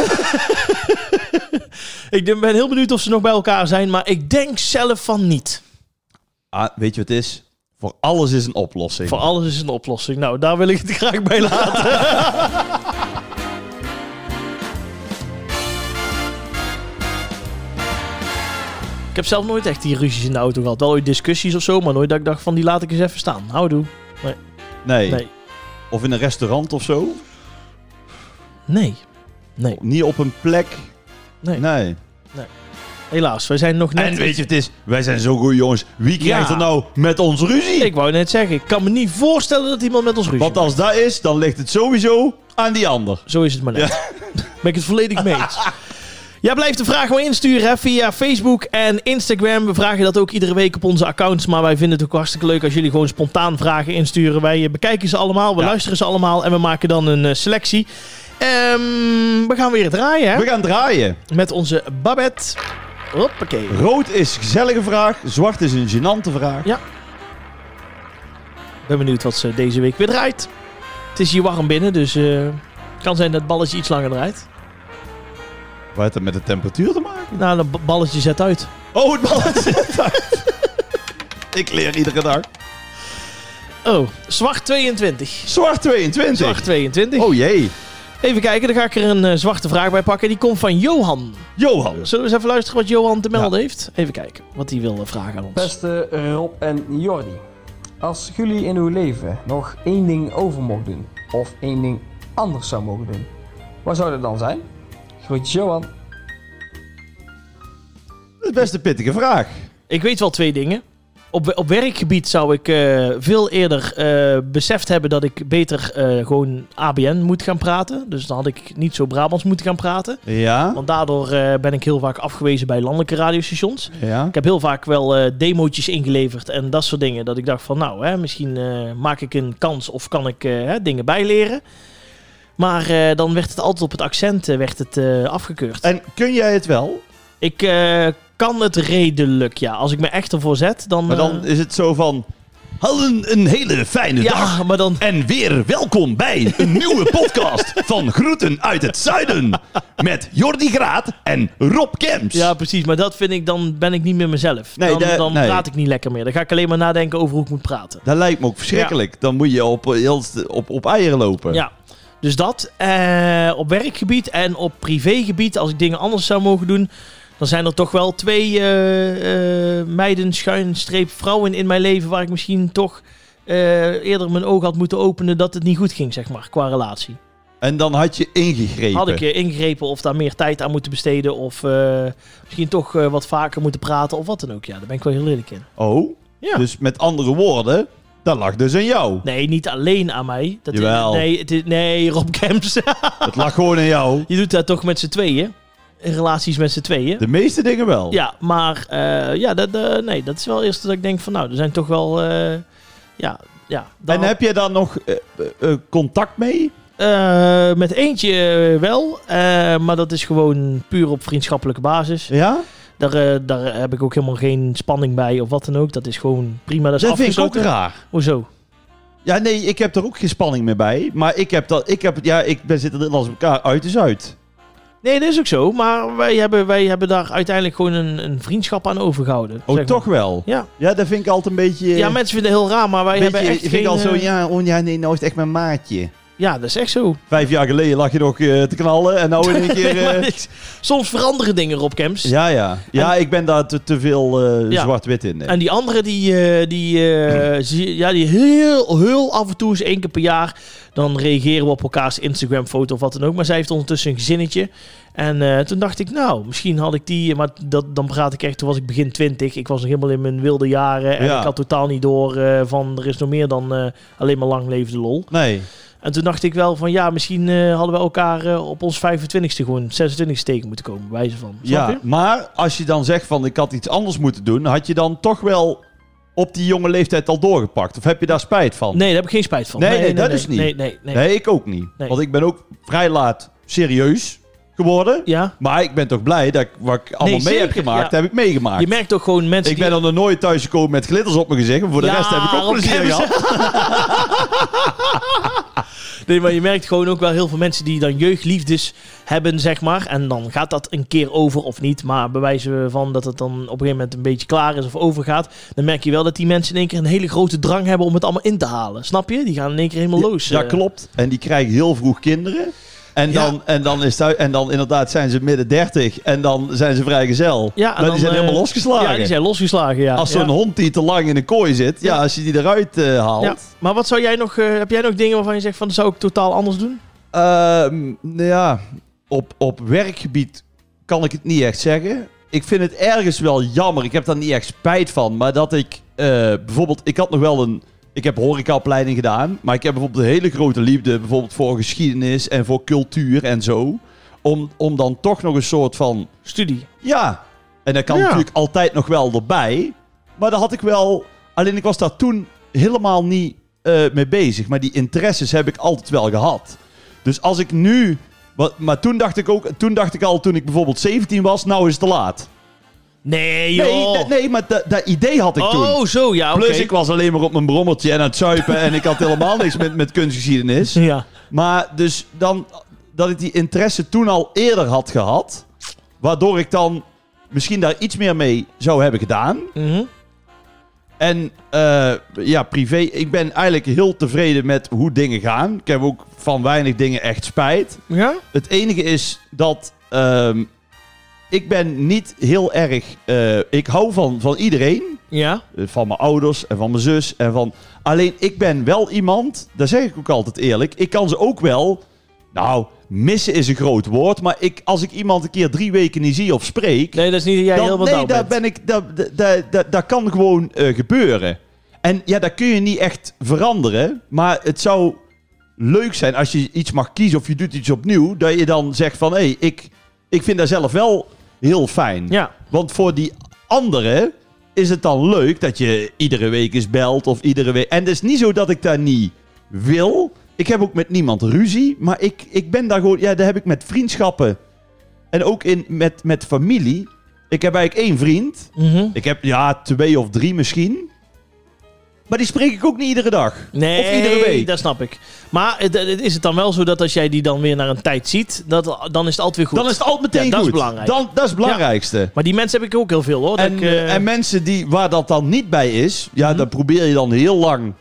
[SPEAKER 1] Ik ben heel benieuwd of ze nog bij elkaar zijn, maar ik denk zelf van niet.
[SPEAKER 2] Ah, weet je wat het is? Voor alles is een oplossing.
[SPEAKER 1] Voor alles is een oplossing. Nou, daar wil ik het graag bij laten. ik heb zelf nooit echt die ruzies in de auto gehad. Wel ooit discussies of zo, maar nooit dat ik dacht van die laat ik eens even staan. Houdoe.
[SPEAKER 2] nee.
[SPEAKER 1] Nee.
[SPEAKER 2] Of in een restaurant of zo.
[SPEAKER 1] Nee. Nee.
[SPEAKER 2] Niet op een plek.
[SPEAKER 1] Nee.
[SPEAKER 2] nee.
[SPEAKER 1] Helaas, wij zijn nog net...
[SPEAKER 2] En weet je wat het is? Wij zijn zo goed jongens. Wie krijgt
[SPEAKER 1] Ja.
[SPEAKER 2] er nou met ons ruzie?
[SPEAKER 1] Ik wou net zeggen, ik kan me niet voorstellen dat iemand met ons ruzie
[SPEAKER 2] Want als dat is, dan ligt het sowieso aan die ander.
[SPEAKER 1] Zo is het maar net. Ben ik het volledig mee eens. Ja, blijf de vraag maar insturen hè, via Facebook en Instagram. We vragen dat ook iedere week op onze accounts. Maar wij vinden het ook hartstikke leuk als jullie gewoon spontaan vragen insturen. Wij eh, bekijken ze allemaal, we
[SPEAKER 2] Ja.
[SPEAKER 1] luisteren ze allemaal en we maken dan een eh, selectie. Ehm, we gaan weer draaien hè?
[SPEAKER 2] We gaan draaien.
[SPEAKER 1] met onze Babette. Hoppakee.
[SPEAKER 2] Rood is gezellige vraag. Zwart is een gênante vraag.
[SPEAKER 1] Ja. Ik ben benieuwd wat ze deze week weer draait. Het is hier warm binnen, dus eh, het kan zijn dat het balletje iets langer draait.
[SPEAKER 2] Wat heeft dat met de temperatuur te maken?
[SPEAKER 1] Nou, dat ba- balletje zet uit.
[SPEAKER 2] Oh, het balletje. Ik leer iedere dag.
[SPEAKER 1] Oh, zwart 22.
[SPEAKER 2] Zwart 22.
[SPEAKER 1] Zwart 22.
[SPEAKER 2] Oh jee.
[SPEAKER 1] Even kijken, dan ga ik er een eh, zwarte vraag bij pakken. Die komt van Johan.
[SPEAKER 2] Johan.
[SPEAKER 1] Zullen we eens even luisteren wat Johan te melden heeft? Even kijken wat hij wil eh, vragen aan ons.
[SPEAKER 3] Beste Rob en Jordi, als jullie in uw leven nog één ding over mogen doen, of één ding anders zou mogen doen, wat zou dat dan zijn? Groetjes Johan.
[SPEAKER 2] Dat is best een pittige vraag.
[SPEAKER 1] Ik weet wel twee dingen. Op, op werkgebied zou ik eh, veel eerder eh, beseft hebben dat ik beter eh, gewoon ABN moet gaan praten. Dus dan had ik niet zo Brabants moeten gaan praten.
[SPEAKER 2] Ja.
[SPEAKER 1] Want daardoor eh, ben ik heel vaak afgewezen bij landelijke radiostations.
[SPEAKER 2] Ja.
[SPEAKER 1] Ik heb heel vaak wel eh demootjes ingeleverd en dat soort dingen. Dat ik dacht van nou, hè, misschien eh, maak ik een kans of kan ik eh, hè, dingen bijleren. Maar eh, dan werd het altijd op het accent eh, werd het, eh, afgekeurd.
[SPEAKER 2] En kun jij het wel?
[SPEAKER 1] Ik eh, kan het redelijk, ja. Als ik me echt ervoor zet, dan...
[SPEAKER 2] Maar
[SPEAKER 1] eh,
[SPEAKER 2] dan is het zo van... Hadden een hele fijne dag.
[SPEAKER 1] Ja, maar dan...
[SPEAKER 2] En weer welkom bij een nieuwe podcast van Groeten uit het Zuiden. Met Jordi Graat en Rob Kemps.
[SPEAKER 1] Ja, precies. Maar dat vind ik, dan ben ik niet meer mezelf.
[SPEAKER 2] Nee,
[SPEAKER 1] dan
[SPEAKER 2] de-
[SPEAKER 1] dan
[SPEAKER 2] nee.
[SPEAKER 1] praat ik niet lekker meer. Dan ga ik alleen maar nadenken over hoe ik moet praten.
[SPEAKER 2] Dat lijkt me ook verschrikkelijk. Dan moet je op, heel st- op, op eieren lopen.
[SPEAKER 1] Ja. Dus dat eh, op werkgebied en op privégebied, als ik dingen anders zou mogen doen, dan zijn er toch wel twee eh, eh, meiden, schuin, streep, vrouwen in mijn leven waar ik misschien toch eh, eerder mijn ogen had moeten openen dat het niet goed ging, zeg maar, qua relatie.
[SPEAKER 2] En dan had je ingegrepen.
[SPEAKER 1] Had ik eh, ingegrepen of daar meer tijd aan moeten besteden of eh, misschien toch eh, wat vaker moeten praten of wat dan ook. Ja, daar ben ik wel heel eerlijk in.
[SPEAKER 2] Oh,
[SPEAKER 1] Ja.
[SPEAKER 2] dus met andere woorden, dat lag dus aan jou.
[SPEAKER 1] Nee, niet alleen aan mij. Dat is-
[SPEAKER 2] Jawel.
[SPEAKER 1] nee, het is- nee, Rob Kemps.
[SPEAKER 2] Het lag gewoon aan jou.
[SPEAKER 1] Je doet dat toch met z'n tweeën? In relaties met z'n tweeën?
[SPEAKER 2] De meeste dingen wel.
[SPEAKER 1] Ja, maar eh, ja, dat, eh, nee, dat is wel eerst dat ik denk van nou, er zijn toch wel... eh, ja, ja. daar
[SPEAKER 2] En
[SPEAKER 1] had-
[SPEAKER 2] heb je daar nog eh, eh, eh, contact mee?
[SPEAKER 1] eh, met eentje eh, wel, eh, maar dat is gewoon puur op vriendschappelijke basis.
[SPEAKER 2] Ja?
[SPEAKER 1] Daar, eh, daar heb ik ook helemaal geen spanning bij of wat dan ook. Dat is gewoon prima, dat is
[SPEAKER 2] Dat vind ik ook
[SPEAKER 1] afgesloten.
[SPEAKER 2] raar.
[SPEAKER 1] Hoezo?
[SPEAKER 2] Ja, nee, ik heb er ook geen spanning meer bij. Maar ik heb dat, ik heb, ja, ik ben zitten er als elkaar uit is uit.
[SPEAKER 1] Nee, dat is ook zo, maar wij hebben, wij hebben daar uiteindelijk gewoon een, een vriendschap aan overgehouden.
[SPEAKER 2] Oh,
[SPEAKER 1] zeg maar.
[SPEAKER 2] toch wel?
[SPEAKER 1] Ja.
[SPEAKER 2] Ja, dat vind ik altijd een beetje...
[SPEAKER 1] Ja, mensen vinden het heel raar, maar wij
[SPEAKER 2] beetje,
[SPEAKER 1] hebben echt
[SPEAKER 2] vind
[SPEAKER 1] geen...
[SPEAKER 2] ik al zo,
[SPEAKER 1] eh,
[SPEAKER 2] ja, oh, ja, nee, nou is het echt mijn maatje.
[SPEAKER 1] ja, dat is echt zo.
[SPEAKER 2] Vijf jaar geleden lag je nog eh, te knallen en nou in één keer...
[SPEAKER 1] Nee, maar
[SPEAKER 2] eh,
[SPEAKER 1] dit- soms veranderen dingen, Rob Kemps.
[SPEAKER 2] ja, ja. Ja, ik ben daar te, te veel eh,
[SPEAKER 1] Ja.
[SPEAKER 2] zwart-wit in.
[SPEAKER 1] En die andere, die, eh, die, eh, zie- ja, die heel, heel af en toe eens één keer per jaar... dan reageren we op elkaars Instagram-foto of wat dan ook. Maar zij heeft ondertussen een gezinnetje. En eh, toen dacht ik, nou, misschien had ik die... maar dat, dan praat ik echt, toen was ik begin twintig. Ik was nog helemaal in mijn wilde jaren. En
[SPEAKER 2] Ja.
[SPEAKER 1] ik had totaal niet door eh, van... er is nog meer dan eh, alleen maar lang leven de lol.
[SPEAKER 2] Nee.
[SPEAKER 1] En toen dacht ik wel van ja, misschien eh, hadden we elkaar eh, op ons 25ste gewoon 26ste tegen moeten komen, bij wijze van. Snap
[SPEAKER 2] Ja,
[SPEAKER 1] je?
[SPEAKER 2] maar als je dan zegt van ik had iets anders moeten doen, had je dan toch wel op die jonge leeftijd al doorgepakt? Of heb je daar spijt van?
[SPEAKER 1] Nee, daar heb ik geen spijt van.
[SPEAKER 2] Nee, nee, dat is niet.
[SPEAKER 1] Nee, nee, nee.
[SPEAKER 2] Nee, ik ook niet.
[SPEAKER 1] Nee.
[SPEAKER 2] Want ik ben ook vrij laat serieus geworden.
[SPEAKER 1] Ja,
[SPEAKER 2] Maar ik ben toch blij dat ik, wat ik allemaal mee heb
[SPEAKER 1] zeker,
[SPEAKER 2] gemaakt,
[SPEAKER 1] ja.
[SPEAKER 2] heb ik meegemaakt.
[SPEAKER 1] je merkt toch gewoon mensen
[SPEAKER 2] ik ben dan nog nooit thuis gekomen met glitters op mijn gezicht. Maar voor de
[SPEAKER 1] Ja,
[SPEAKER 2] rest heb ik ook
[SPEAKER 1] Rob
[SPEAKER 2] plezier
[SPEAKER 1] Kemps.
[SPEAKER 2] gehad.
[SPEAKER 1] die, nee, maar je merkt gewoon ook wel heel veel mensen die dan jeugdliefdes hebben, zeg maar. En dan gaat dat een keer over of niet, maar bewijzen van dat het dan op een gegeven moment een beetje klaar is of overgaat. Dan merk je wel dat die mensen in één keer een hele grote drang hebben om het allemaal in te halen. Snap je? Die gaan in één keer helemaal los.
[SPEAKER 2] Ja,
[SPEAKER 1] eh.
[SPEAKER 2] klopt. En die krijgen heel vroeg kinderen. En
[SPEAKER 1] Ja.
[SPEAKER 2] dan, en, dan is thuis, en dan inderdaad zijn ze midden dertig. En dan zijn ze vrijgezel.
[SPEAKER 1] Ja, en
[SPEAKER 2] maar
[SPEAKER 1] dan,
[SPEAKER 2] die zijn
[SPEAKER 1] eh,
[SPEAKER 2] helemaal losgeslagen.
[SPEAKER 1] Ja, die zijn losgeslagen, ja.
[SPEAKER 2] Als
[SPEAKER 1] Ja.
[SPEAKER 2] zo'n hond die te lang in een kooi zit, ja,
[SPEAKER 1] Ja.
[SPEAKER 2] als je die eruit eh,
[SPEAKER 1] Ja,
[SPEAKER 2] haalt.
[SPEAKER 1] maar wat zou jij nog, eh, heb jij nog dingen waarvan je zegt van dat zou ik totaal anders doen?
[SPEAKER 2] Ja. nou ja, op, op werkgebied kan ik het niet echt zeggen. Ik vind het ergens wel jammer. Ik heb daar niet echt spijt van. Maar dat ik eh, bijvoorbeeld, ik had nog wel een. Ik heb horecaopleiding gedaan. Maar ik heb bijvoorbeeld een hele grote liefde bijvoorbeeld voor geschiedenis en voor cultuur en zo. Om, om dan toch nog een soort van.
[SPEAKER 1] Studie.
[SPEAKER 2] Ja, en dat kan
[SPEAKER 1] Ja.
[SPEAKER 2] natuurlijk altijd nog wel erbij. Maar dat had ik wel. Alleen ik was daar toen helemaal niet eh, mee bezig. Maar die interesses heb ik altijd wel gehad. Dus als ik nu. Wat, maar toen dacht ik ook. Toen dacht ik al, toen ik bijvoorbeeld 17 was, nou is het te laat.
[SPEAKER 1] Nee, joh.
[SPEAKER 2] Nee, dat- nee, maar dat- dat idee had ik toen.
[SPEAKER 1] oh, zo, ja, oké.
[SPEAKER 2] Plus, ik was alleen maar op mijn brommertje en aan het zuipen. en ik had helemaal niks met, met kunstgeschiedenis.
[SPEAKER 1] Ja.
[SPEAKER 2] Maar dus dan dat ik die interesse toen al eerder had gehad, waardoor ik dan misschien daar iets meer mee zou hebben gedaan.
[SPEAKER 1] Mhm.
[SPEAKER 2] En eh, ja, privé, ik ben eigenlijk heel tevreden met hoe dingen gaan. Ik heb ook van weinig dingen echt spijt.
[SPEAKER 1] Ja?
[SPEAKER 2] Het enige is dat ehm, ik ben niet heel erg. eh, ik hou van, van iedereen.
[SPEAKER 1] Ja.
[SPEAKER 2] Eh, van mijn ouders en van mijn zus en van... Alleen, ik ben wel iemand, daar zeg ik ook altijd eerlijk, ik kan ze ook wel... Nou, missen is een groot woord, maar ik, als ik iemand een keer drie weken niet zie of spreek...
[SPEAKER 1] Nee, dat is niet dat jij
[SPEAKER 2] dan,
[SPEAKER 1] helemaal
[SPEAKER 2] nee,
[SPEAKER 1] down
[SPEAKER 2] daar
[SPEAKER 1] bent.
[SPEAKER 2] ben ik, daar, daar- daar, daar, daar kan gewoon eh, gebeuren. En ja, dat kun je niet echt veranderen, maar het zou leuk zijn als je iets mag kiezen of je doet iets opnieuw, dat je dan zegt van, hé, hey, ik, ik vind dat zelf wel heel fijn.
[SPEAKER 1] Ja.
[SPEAKER 2] Want voor die anderen is het dan leuk dat je iedere week eens belt of iedere week. En het is niet zo dat ik daar niet wil. Ik heb ook met niemand ruzie, maar ik, ik ben daar gewoon. Ja, daar heb ik met vriendschappen en ook in, met, met familie. Ik heb eigenlijk één vriend.
[SPEAKER 1] Mhm.
[SPEAKER 2] Ik heb ja twee of drie misschien. Maar die spreek ik ook niet iedere dag.
[SPEAKER 1] Nee,
[SPEAKER 2] Of iedere week.
[SPEAKER 1] dat snap ik. Maar het- het- is het dan wel zo dat als jij die dan weer naar een tijd ziet, dat, dan is het altijd weer goed?
[SPEAKER 2] Dan is het altijd meteen
[SPEAKER 1] Ja, dat is
[SPEAKER 2] goed.
[SPEAKER 1] belangrijk.
[SPEAKER 2] Dan, dat is het belangrijkste.
[SPEAKER 1] Maar die mensen heb ik ook heel veel hoor. dat
[SPEAKER 2] En,
[SPEAKER 1] ik, eh, Mhm.
[SPEAKER 2] eh, en mensen die, waar dat dan niet bij is, ja, daar probeer je dan heel lang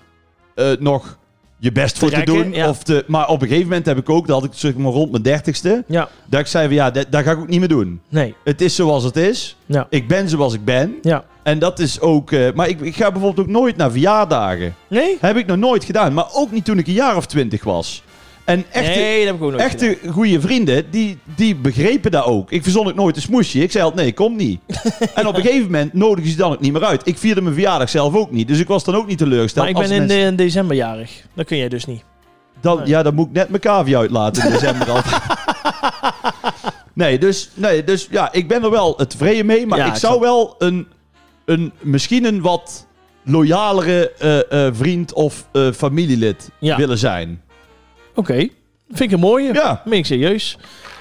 [SPEAKER 2] eh, nog je best voor te
[SPEAKER 1] rekken,
[SPEAKER 2] doen.
[SPEAKER 1] ja.
[SPEAKER 2] Of te, maar op een gegeven moment heb ik ook, dat had ik zeg maar rond mijn dertigste,
[SPEAKER 1] Ja,
[SPEAKER 2] dat ik zei van ja, dat, dat ga ik ook niet meer doen.
[SPEAKER 1] nee.
[SPEAKER 2] Het is zoals het is.
[SPEAKER 1] Ja.
[SPEAKER 2] Ik ben zoals ik ben.
[SPEAKER 1] Ja.
[SPEAKER 2] En dat is ook, eh, maar ik, ik ga bijvoorbeeld ook nooit naar verjaardagen.
[SPEAKER 1] Nee?
[SPEAKER 2] Heb ik nog nooit gedaan, maar ook niet toen ik een jaar of twintig was. En echte,
[SPEAKER 1] nee, dat heb ik ook nooit gedaan.
[SPEAKER 2] echte goede vrienden, die, die begrepen dat ook. Ik verzon het nooit een smoesje. Ik zei altijd, nee, kom niet. en op een gegeven moment nodigen ze dan ook niet meer uit. Ik vierde mijn verjaardag zelf ook niet. Dus ik was dan ook niet teleurgesteld.
[SPEAKER 1] Maar ik ben
[SPEAKER 2] als
[SPEAKER 1] in,
[SPEAKER 2] mensen-
[SPEAKER 1] de- in december jarig. Dat kun jij dus niet.
[SPEAKER 2] Dan, ja, dan moet ik net mijn kavi uitlaten in december al. Nee dus, nee, dus ja, ik ben er wel tevreden mee. Maar
[SPEAKER 1] Ja,
[SPEAKER 2] ik
[SPEAKER 1] ik
[SPEAKER 2] zou
[SPEAKER 1] snap.
[SPEAKER 2] wel een, een, misschien een wat loyalere eh, eh, vriend of eh, familielid
[SPEAKER 1] Ja.
[SPEAKER 2] willen zijn.
[SPEAKER 1] Oké. Vind ik een mooie.
[SPEAKER 2] Ja.
[SPEAKER 1] Meen ik serieus.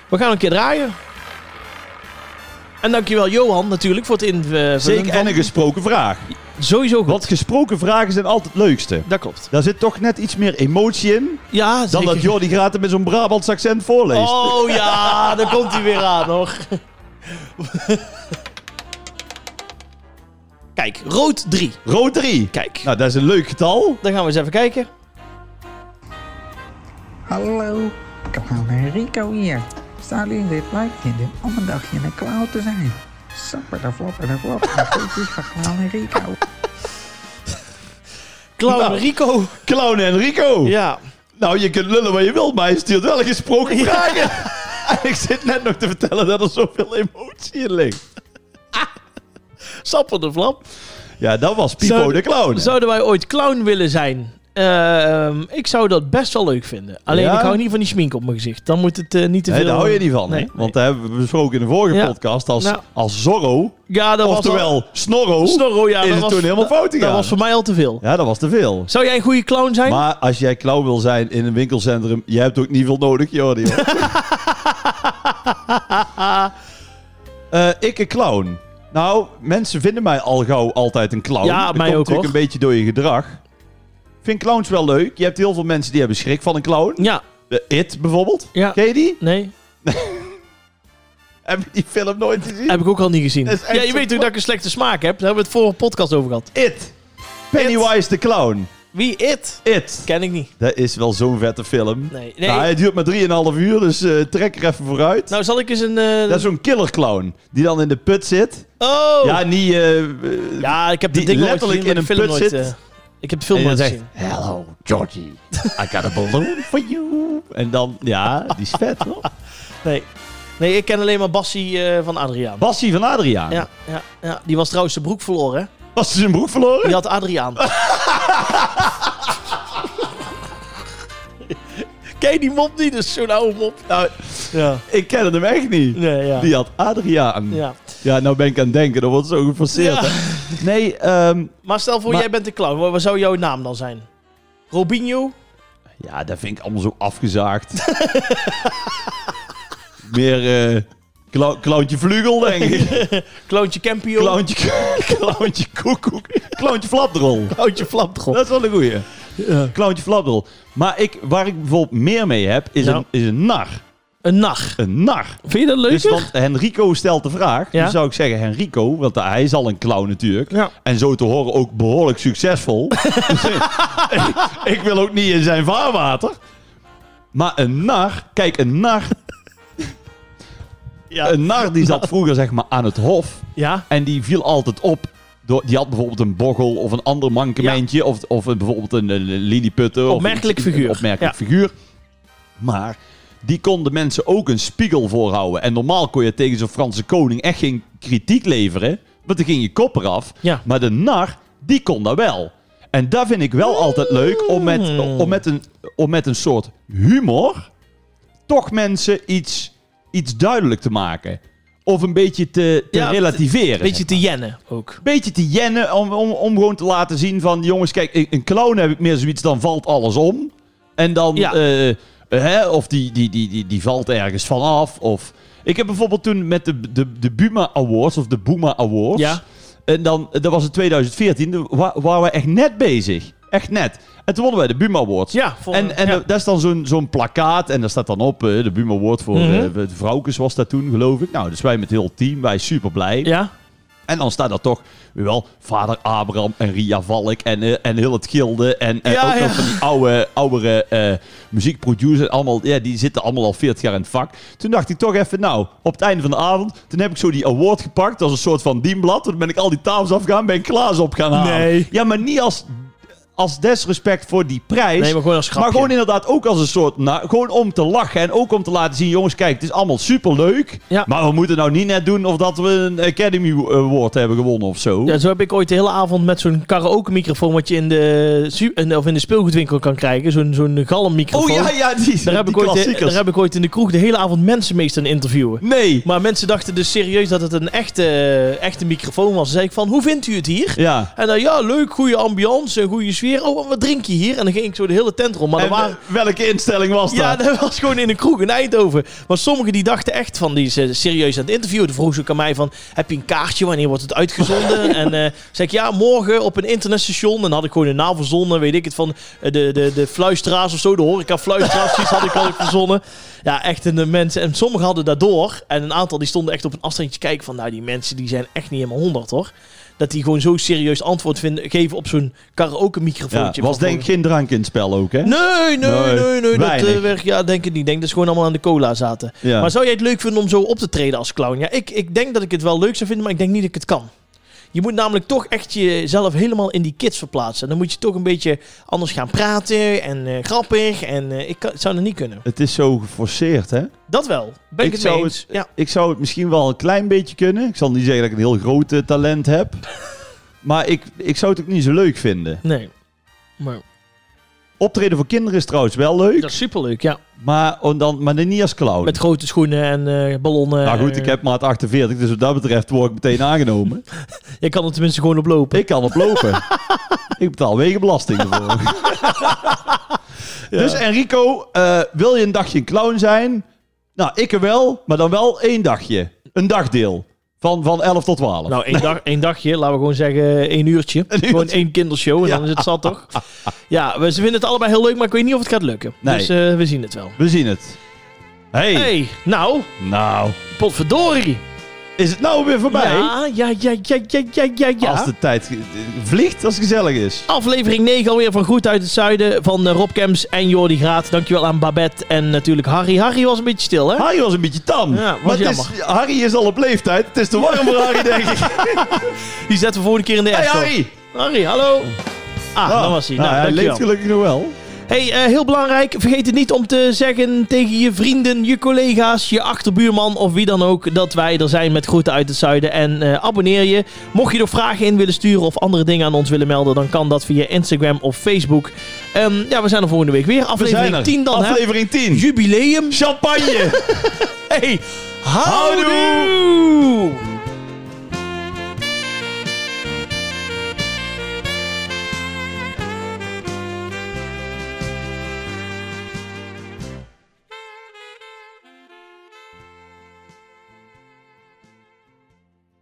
[SPEAKER 1] We gaan een keer draaien. En dankjewel Johan natuurlijk voor het invullen.
[SPEAKER 2] Zeker
[SPEAKER 1] van-
[SPEAKER 2] en een gesproken vraag.
[SPEAKER 1] Sowieso goed.
[SPEAKER 2] Want gesproken vragen zijn altijd het leukste.
[SPEAKER 1] Dat klopt.
[SPEAKER 2] Daar zit toch net iets meer emotie in
[SPEAKER 1] Ja,
[SPEAKER 2] dan dat Jordi Graten met zo'n Brabants accent voorleest.
[SPEAKER 1] Oh ja, daar komt hij weer aan nog. Kijk, rood 3.
[SPEAKER 2] Rood 3.
[SPEAKER 1] Kijk,
[SPEAKER 2] Nou, dat is een leuk getal.
[SPEAKER 1] dan gaan we eens even kijken.
[SPEAKER 4] Hallo, Clown en Rico hier. Staan jullie dit live vinden om een dagje in de clown te zijn? Sapper de flapper de flapper, de groetjes van Clown en Rico.
[SPEAKER 1] Clown
[SPEAKER 2] Nou.
[SPEAKER 1] Rico.
[SPEAKER 2] Clown Enrico.
[SPEAKER 1] Ja.
[SPEAKER 2] Nou, je kunt lullen wat je wilt, maar hij stuurt wel een gesproken vragen. En ik zit net nog te vertellen dat er zoveel emotie in ligt.
[SPEAKER 1] Sapper de flap.
[SPEAKER 2] Ja, dat was Pipo
[SPEAKER 1] Zou-
[SPEAKER 2] de Clown.
[SPEAKER 1] Zouden wij ooit clown willen zijn? Ehm, ik zou dat best wel leuk vinden. Alleen
[SPEAKER 2] Ja?
[SPEAKER 1] ik hou niet van die schmink op mijn gezicht. Dan moet het eh, niet te veel...
[SPEAKER 2] Nee, daar hou je niet van, hè?
[SPEAKER 1] Nee,
[SPEAKER 2] Want dat hebben we besproken in de vorige
[SPEAKER 1] Ja.
[SPEAKER 2] podcast. Als,
[SPEAKER 1] Nou.
[SPEAKER 2] als Zorro,
[SPEAKER 1] Ja, dat was
[SPEAKER 2] oftewel Snorro,
[SPEAKER 1] al... Snorro, ja,
[SPEAKER 2] is
[SPEAKER 1] dat
[SPEAKER 2] het
[SPEAKER 1] was,
[SPEAKER 2] toen helemaal fout
[SPEAKER 1] Dat
[SPEAKER 2] gegaan.
[SPEAKER 1] was voor mij al te veel.
[SPEAKER 2] Ja, dat was te veel.
[SPEAKER 1] Zou jij een goede clown zijn?
[SPEAKER 2] Maar als jij clown wil zijn in een winkelcentrum, je hebt ook niet veel nodig, Jordi. hoor. Eh, ik een clown. Nou, mensen vinden mij al gauw altijd een clown.
[SPEAKER 1] Ja,
[SPEAKER 2] dat
[SPEAKER 1] mij ook,
[SPEAKER 2] komt natuurlijk
[SPEAKER 1] hoor.
[SPEAKER 2] een beetje door je gedrag. Ik vind clowns wel leuk. Je hebt heel veel mensen die hebben schrik van een clown.
[SPEAKER 1] Ja.
[SPEAKER 2] De It bijvoorbeeld.
[SPEAKER 1] Ja.
[SPEAKER 2] Ken je die?
[SPEAKER 1] Nee,
[SPEAKER 2] Heb je die film nooit gezien?
[SPEAKER 1] heb ik ook al niet gezien.
[SPEAKER 2] Dat is echt
[SPEAKER 1] Ja, je
[SPEAKER 2] zo-
[SPEAKER 1] weet ook dat ik een slechte smaak heb. Daar hebben we het vorige podcast over gehad.
[SPEAKER 2] It. Pennywise de clown.
[SPEAKER 1] Wie it?
[SPEAKER 2] It.
[SPEAKER 1] Ken ik niet.
[SPEAKER 2] Dat is wel zo'n vette film.
[SPEAKER 1] Nee, nee.
[SPEAKER 2] Nou, hij duurt maar 3,5 uur, dus eh, trek er even vooruit.
[SPEAKER 1] Nou, zal ik eens een... eh,
[SPEAKER 2] Dat is zo'n killer clown die dan in de put zit.
[SPEAKER 1] Oh!
[SPEAKER 2] Ja,
[SPEAKER 1] Ja,
[SPEAKER 2] niet. eh, eh,
[SPEAKER 1] ik heb de
[SPEAKER 2] die
[SPEAKER 1] ding nooit
[SPEAKER 2] letterlijk
[SPEAKER 1] gezien, maar de
[SPEAKER 2] in een
[SPEAKER 1] film
[SPEAKER 2] put
[SPEAKER 1] nooit,
[SPEAKER 2] zit.
[SPEAKER 1] eh, ik heb de film
[SPEAKER 2] en dan
[SPEAKER 1] nooit
[SPEAKER 2] zegt,
[SPEAKER 1] gezien.
[SPEAKER 2] hello Georgie, I got a balloon for you. En dan, ja, die is vet hoor.
[SPEAKER 1] Nee. nee, ik ken alleen maar Bassie eh, van Adriaan.
[SPEAKER 2] Bassie van Adriaan.
[SPEAKER 1] Ja, ja, ja, die was trouwens zijn broek verloren. hè?
[SPEAKER 2] Was ze zijn broek verloren?
[SPEAKER 1] Die had Adriaan. Ken je die mop niet? Dat is zo'n oude mop.
[SPEAKER 2] Nou,
[SPEAKER 1] Ja.
[SPEAKER 2] ik ken hem echt niet.
[SPEAKER 1] Nee, ja.
[SPEAKER 2] Die had Adriaan. Ja.
[SPEAKER 1] ja.
[SPEAKER 2] nou ben ik aan het denken, dat wordt zo geforceerd.
[SPEAKER 1] Ja.
[SPEAKER 2] hè. Nee, ehm,
[SPEAKER 1] Maar stel voor,
[SPEAKER 2] Maar-
[SPEAKER 1] jij bent de clown. Wat wat zou jouw naam dan zijn? Robinho?
[SPEAKER 2] ja, dat vind ik allemaal zo afgezaagd. Meer eh clou- clowntje vlugel, denk ik.
[SPEAKER 1] Clowntje Campio?
[SPEAKER 2] Clowntje, clowntje koekoek. Clowntje flapdrol.
[SPEAKER 1] Clowntje Flapdrol.
[SPEAKER 2] Dat is wel een goeie. Clowntje flapdrol. Maar ik, waar ik bijvoorbeeld meer mee heb, is,
[SPEAKER 1] Nou.
[SPEAKER 2] een, is een nar.
[SPEAKER 1] Een nacht.
[SPEAKER 2] Een nar.
[SPEAKER 1] Vind je dat leuk?
[SPEAKER 2] Dus want Henrico stelt de vraag,
[SPEAKER 1] Ja.
[SPEAKER 2] dan zou ik zeggen Henrico, want hij is al een clown natuurlijk.
[SPEAKER 1] Ja.
[SPEAKER 2] En zo te horen ook behoorlijk succesvol. Dus ik, ik wil ook niet in zijn vaarwater. Maar een nar, kijk een nar,
[SPEAKER 1] Ja.
[SPEAKER 2] een nar die zat vroeger zeg maar aan het hof.
[SPEAKER 1] ja.
[SPEAKER 2] En die viel altijd op. Door, die had bijvoorbeeld een bochel of een ander mankementje. Of, of een- bijvoorbeeld een, eh, lilliputter. of
[SPEAKER 1] Opmerkelijk
[SPEAKER 2] iets- een
[SPEAKER 1] figuur.
[SPEAKER 2] opmerkelijk
[SPEAKER 1] Ja.
[SPEAKER 2] figuur. Maar die konden mensen ook een spiegel voorhouden. En normaal kon je tegen zo'n Franse koning echt geen kritiek leveren. Want dan ging je kop eraf.
[SPEAKER 1] Ja.
[SPEAKER 2] Maar de nar, die kon dat wel. En dat vind ik wel altijd leuk. Om
[SPEAKER 1] Mm.
[SPEAKER 2] met, om met, een, om met een soort humor toch mensen iets, iets duidelijk te maken. Of een beetje te, te
[SPEAKER 1] Ja,
[SPEAKER 2] relativeren.
[SPEAKER 1] Beetje te jennen ook.
[SPEAKER 2] beetje te jennen om, om, om gewoon te laten zien van... jongens, kijk, een een clown heb ik meer zoiets, dan valt alles om. En dan...
[SPEAKER 1] Ja.
[SPEAKER 2] eh, hè, of die, die, die, die, die valt ergens vanaf. Of... Ik heb bijvoorbeeld toen met de, de, de Buma Awards, of de Boema Awards...
[SPEAKER 1] Ja.
[SPEAKER 2] En dan, dat was in 2014, toen wa- waren we echt net bezig. Echt net. En toen wonnen wij de Buma Awards.
[SPEAKER 1] Ja, voor-
[SPEAKER 2] en en
[SPEAKER 1] ja.
[SPEAKER 2] dat- dat is dan zo'n zo'n plakkaat. En daar staat dan op eh, de Buma Award voor eh
[SPEAKER 1] Mhm.
[SPEAKER 2] Vrouwkes was dat toen, geloof ik. Nou, dus wij met heel het team, wij super blij.
[SPEAKER 1] Ja?
[SPEAKER 2] En dan staat daar toch, weet je wel, vader Abraham en Ria Valk en, eh, en heel het gilde. En, en
[SPEAKER 1] Ja,
[SPEAKER 2] ook
[SPEAKER 1] ja.
[SPEAKER 2] nog van die oude, oudere eh muziekproducers. Allemaal, ja, die zitten allemaal al 40 jaar in het vak. Toen dacht ik toch even, nou, op het einde van de avond, toen heb ik zo die award gepakt. als een soort van dienblad. Toen ben ik al die tafels afgegaan, ben ik Klaas op gaan halen.
[SPEAKER 1] Nee.
[SPEAKER 2] Ja, maar niet als... Als desrespect voor die prijs.
[SPEAKER 1] Nee, maar gewoon als grapje.
[SPEAKER 2] Maar gewoon inderdaad ook als een soort... Nou, gewoon om te lachen en ook om te laten zien... Jongens, kijk, het is allemaal superleuk.
[SPEAKER 1] Ja.
[SPEAKER 2] Maar we moeten nou niet net doen of dat we een Academy eh, Award hebben gewonnen of zo.
[SPEAKER 1] Ja, zo heb ik ooit de hele avond met zo'n karaoke microfoon wat je in de, su- in- of in de speelgoedwinkel kan krijgen, zo'n zo'n
[SPEAKER 2] oh
[SPEAKER 1] galmmicrofoon.
[SPEAKER 2] ja, ja, die,
[SPEAKER 1] daar, heb
[SPEAKER 2] die
[SPEAKER 1] ik ooit,
[SPEAKER 2] klassiekers.
[SPEAKER 1] daar heb ik ooit in de kroeg de hele avond mensen mee staan interviewen.
[SPEAKER 2] Nee.
[SPEAKER 1] Maar mensen dachten dus serieus dat het een echte, echte microfoon was. Dan zei ik van, hoe vindt u het hier?
[SPEAKER 2] Ja.
[SPEAKER 1] En dan, ja, leuk, goede ambiance, een goede sfeer. Oh, en wat drink je hier? En dan ging ik zo de hele tent rond. Maar er
[SPEAKER 2] En,
[SPEAKER 1] waren...
[SPEAKER 2] eh, welke instelling was
[SPEAKER 1] Ja,
[SPEAKER 2] dat?
[SPEAKER 1] dat was gewoon in een kroeg in Eindhoven. Maar sommigen die dachten echt van, die ze serieus aan het interviewen. Toen vroegen ze ook aan mij van, heb je een kaartje? Wanneer wordt het uitgezonden? en eh zei ik, ja, morgen op een internetstation. En dan had ik gewoon een naam verzonnen, weet ik het, van eh, de, de, de fluisteraars of zo. De horeca-fluisteraars, die had ik al verzonnen. Ja, echt een eh, mensen. En sommigen hadden daardoor. En een aantal die stonden echt op een afstandje kijken van, nou, die mensen die zijn echt niet helemaal honderd, hoor. Dat die gewoon zo serieus antwoord vinden, geven op zo'n
[SPEAKER 2] Ja,
[SPEAKER 1] karaoke-microfoontje.
[SPEAKER 2] was
[SPEAKER 1] Van-
[SPEAKER 2] denk ik geen drank in het spel ook, hè?
[SPEAKER 1] Nee, nee, nee, nee.
[SPEAKER 2] Nee,
[SPEAKER 1] dat
[SPEAKER 2] weinig.
[SPEAKER 1] eh, werkt. Ja, denk het niet. Denk dat ze gewoon allemaal aan de cola zaten.
[SPEAKER 2] Ja.
[SPEAKER 1] Maar zou jij het leuk vinden om zo op te treden als clown? Ja, ik, ik denk dat ik het wel leuk zou vinden, maar ik denk niet dat ik het kan. Je moet namelijk toch echt jezelf helemaal in die kids verplaatsen. En dan moet je toch een beetje anders gaan praten en eh, grappig. En eh, ik kan, zou dat niet kunnen.
[SPEAKER 2] Het is zo geforceerd, hè?
[SPEAKER 1] Dat wel. Ben ik,
[SPEAKER 2] Ik
[SPEAKER 1] het mee
[SPEAKER 2] zou
[SPEAKER 1] eens. Ja.
[SPEAKER 2] Ik zou het misschien wel een klein beetje kunnen. Ik zal niet zeggen dat ik een heel groot eh, talent heb. maar ik, ik zou het ook niet zo leuk vinden.
[SPEAKER 1] Nee. Maar
[SPEAKER 2] Optreden voor kinderen is trouwens wel leuk.
[SPEAKER 1] dat is superleuk, ja.
[SPEAKER 2] Maar, om dan, maar dan niet als clown.
[SPEAKER 1] Met grote schoenen en eh, ballonnen.
[SPEAKER 2] nou goed,
[SPEAKER 1] en,
[SPEAKER 2] ik heb maat 48, dus wat dat betreft word ik meteen aangenomen.
[SPEAKER 1] eh, Je kan er tenminste gewoon op lopen.
[SPEAKER 2] ik kan oplopen. ik betaal wegenbelasting ervoor. Dus Enrico, eh, wil je een dagje een clown zijn? Nou, ik er wel, maar dan wel één dagje. Een dagdeel. Van, van 11 tot 12.
[SPEAKER 1] Nou, één, dag, één dagje, laten we gewoon zeggen één uurtje. Gewoon één kindershow en dan is het zat, toch? Ja, we, ze vinden het allebei heel leuk, maar ik weet niet of het gaat lukken.
[SPEAKER 2] Nee.
[SPEAKER 1] Dus eh, we zien het wel.
[SPEAKER 2] We zien het. Hey.
[SPEAKER 1] hey, nou,
[SPEAKER 2] Nou,
[SPEAKER 1] potverdorie.
[SPEAKER 2] is het nou weer voorbij?
[SPEAKER 1] Ja, ja, ja, ja, ja, ja, ja, ja.
[SPEAKER 2] Als de tijd ge- vliegt, als het gezellig is.
[SPEAKER 1] Aflevering 9 alweer van Goed uit het Zuiden van eh, Rob Kems en Jordi Graat. Dankjewel aan Babette en natuurlijk Harry. Harry was een beetje stil, hè?
[SPEAKER 2] Harry was een beetje tam.
[SPEAKER 1] Ja, was
[SPEAKER 2] maar het is, Harry is al op leeftijd. Het is te warm voor Harry, denk ik.
[SPEAKER 1] Die zetten we volgende keer in de
[SPEAKER 2] Hey,
[SPEAKER 1] app.
[SPEAKER 2] Harry.
[SPEAKER 1] Harry, hallo. Ah,
[SPEAKER 2] Ah,
[SPEAKER 1] daar was hij. Nou,
[SPEAKER 2] hij
[SPEAKER 1] dankjewel.
[SPEAKER 2] leeft gelukkig nog wel.
[SPEAKER 1] Hey, eh, heel belangrijk. Vergeet het niet om te zeggen tegen je vrienden, je collega's, je achterbuurman of wie dan ook dat wij er zijn met groeten uit het zuiden. En eh, abonneer je. Mocht je er vragen in willen sturen of andere dingen aan ons willen melden, dan kan dat via Instagram of Facebook. Ehm, ja, we zijn er volgende week weer.
[SPEAKER 2] We zijn
[SPEAKER 1] Aflevering
[SPEAKER 2] er.
[SPEAKER 1] 10 dan, hè?
[SPEAKER 2] Aflevering 10.
[SPEAKER 1] Jubileum.
[SPEAKER 2] Champagne.
[SPEAKER 1] Hey,
[SPEAKER 2] Houdoe.
[SPEAKER 1] houdoe.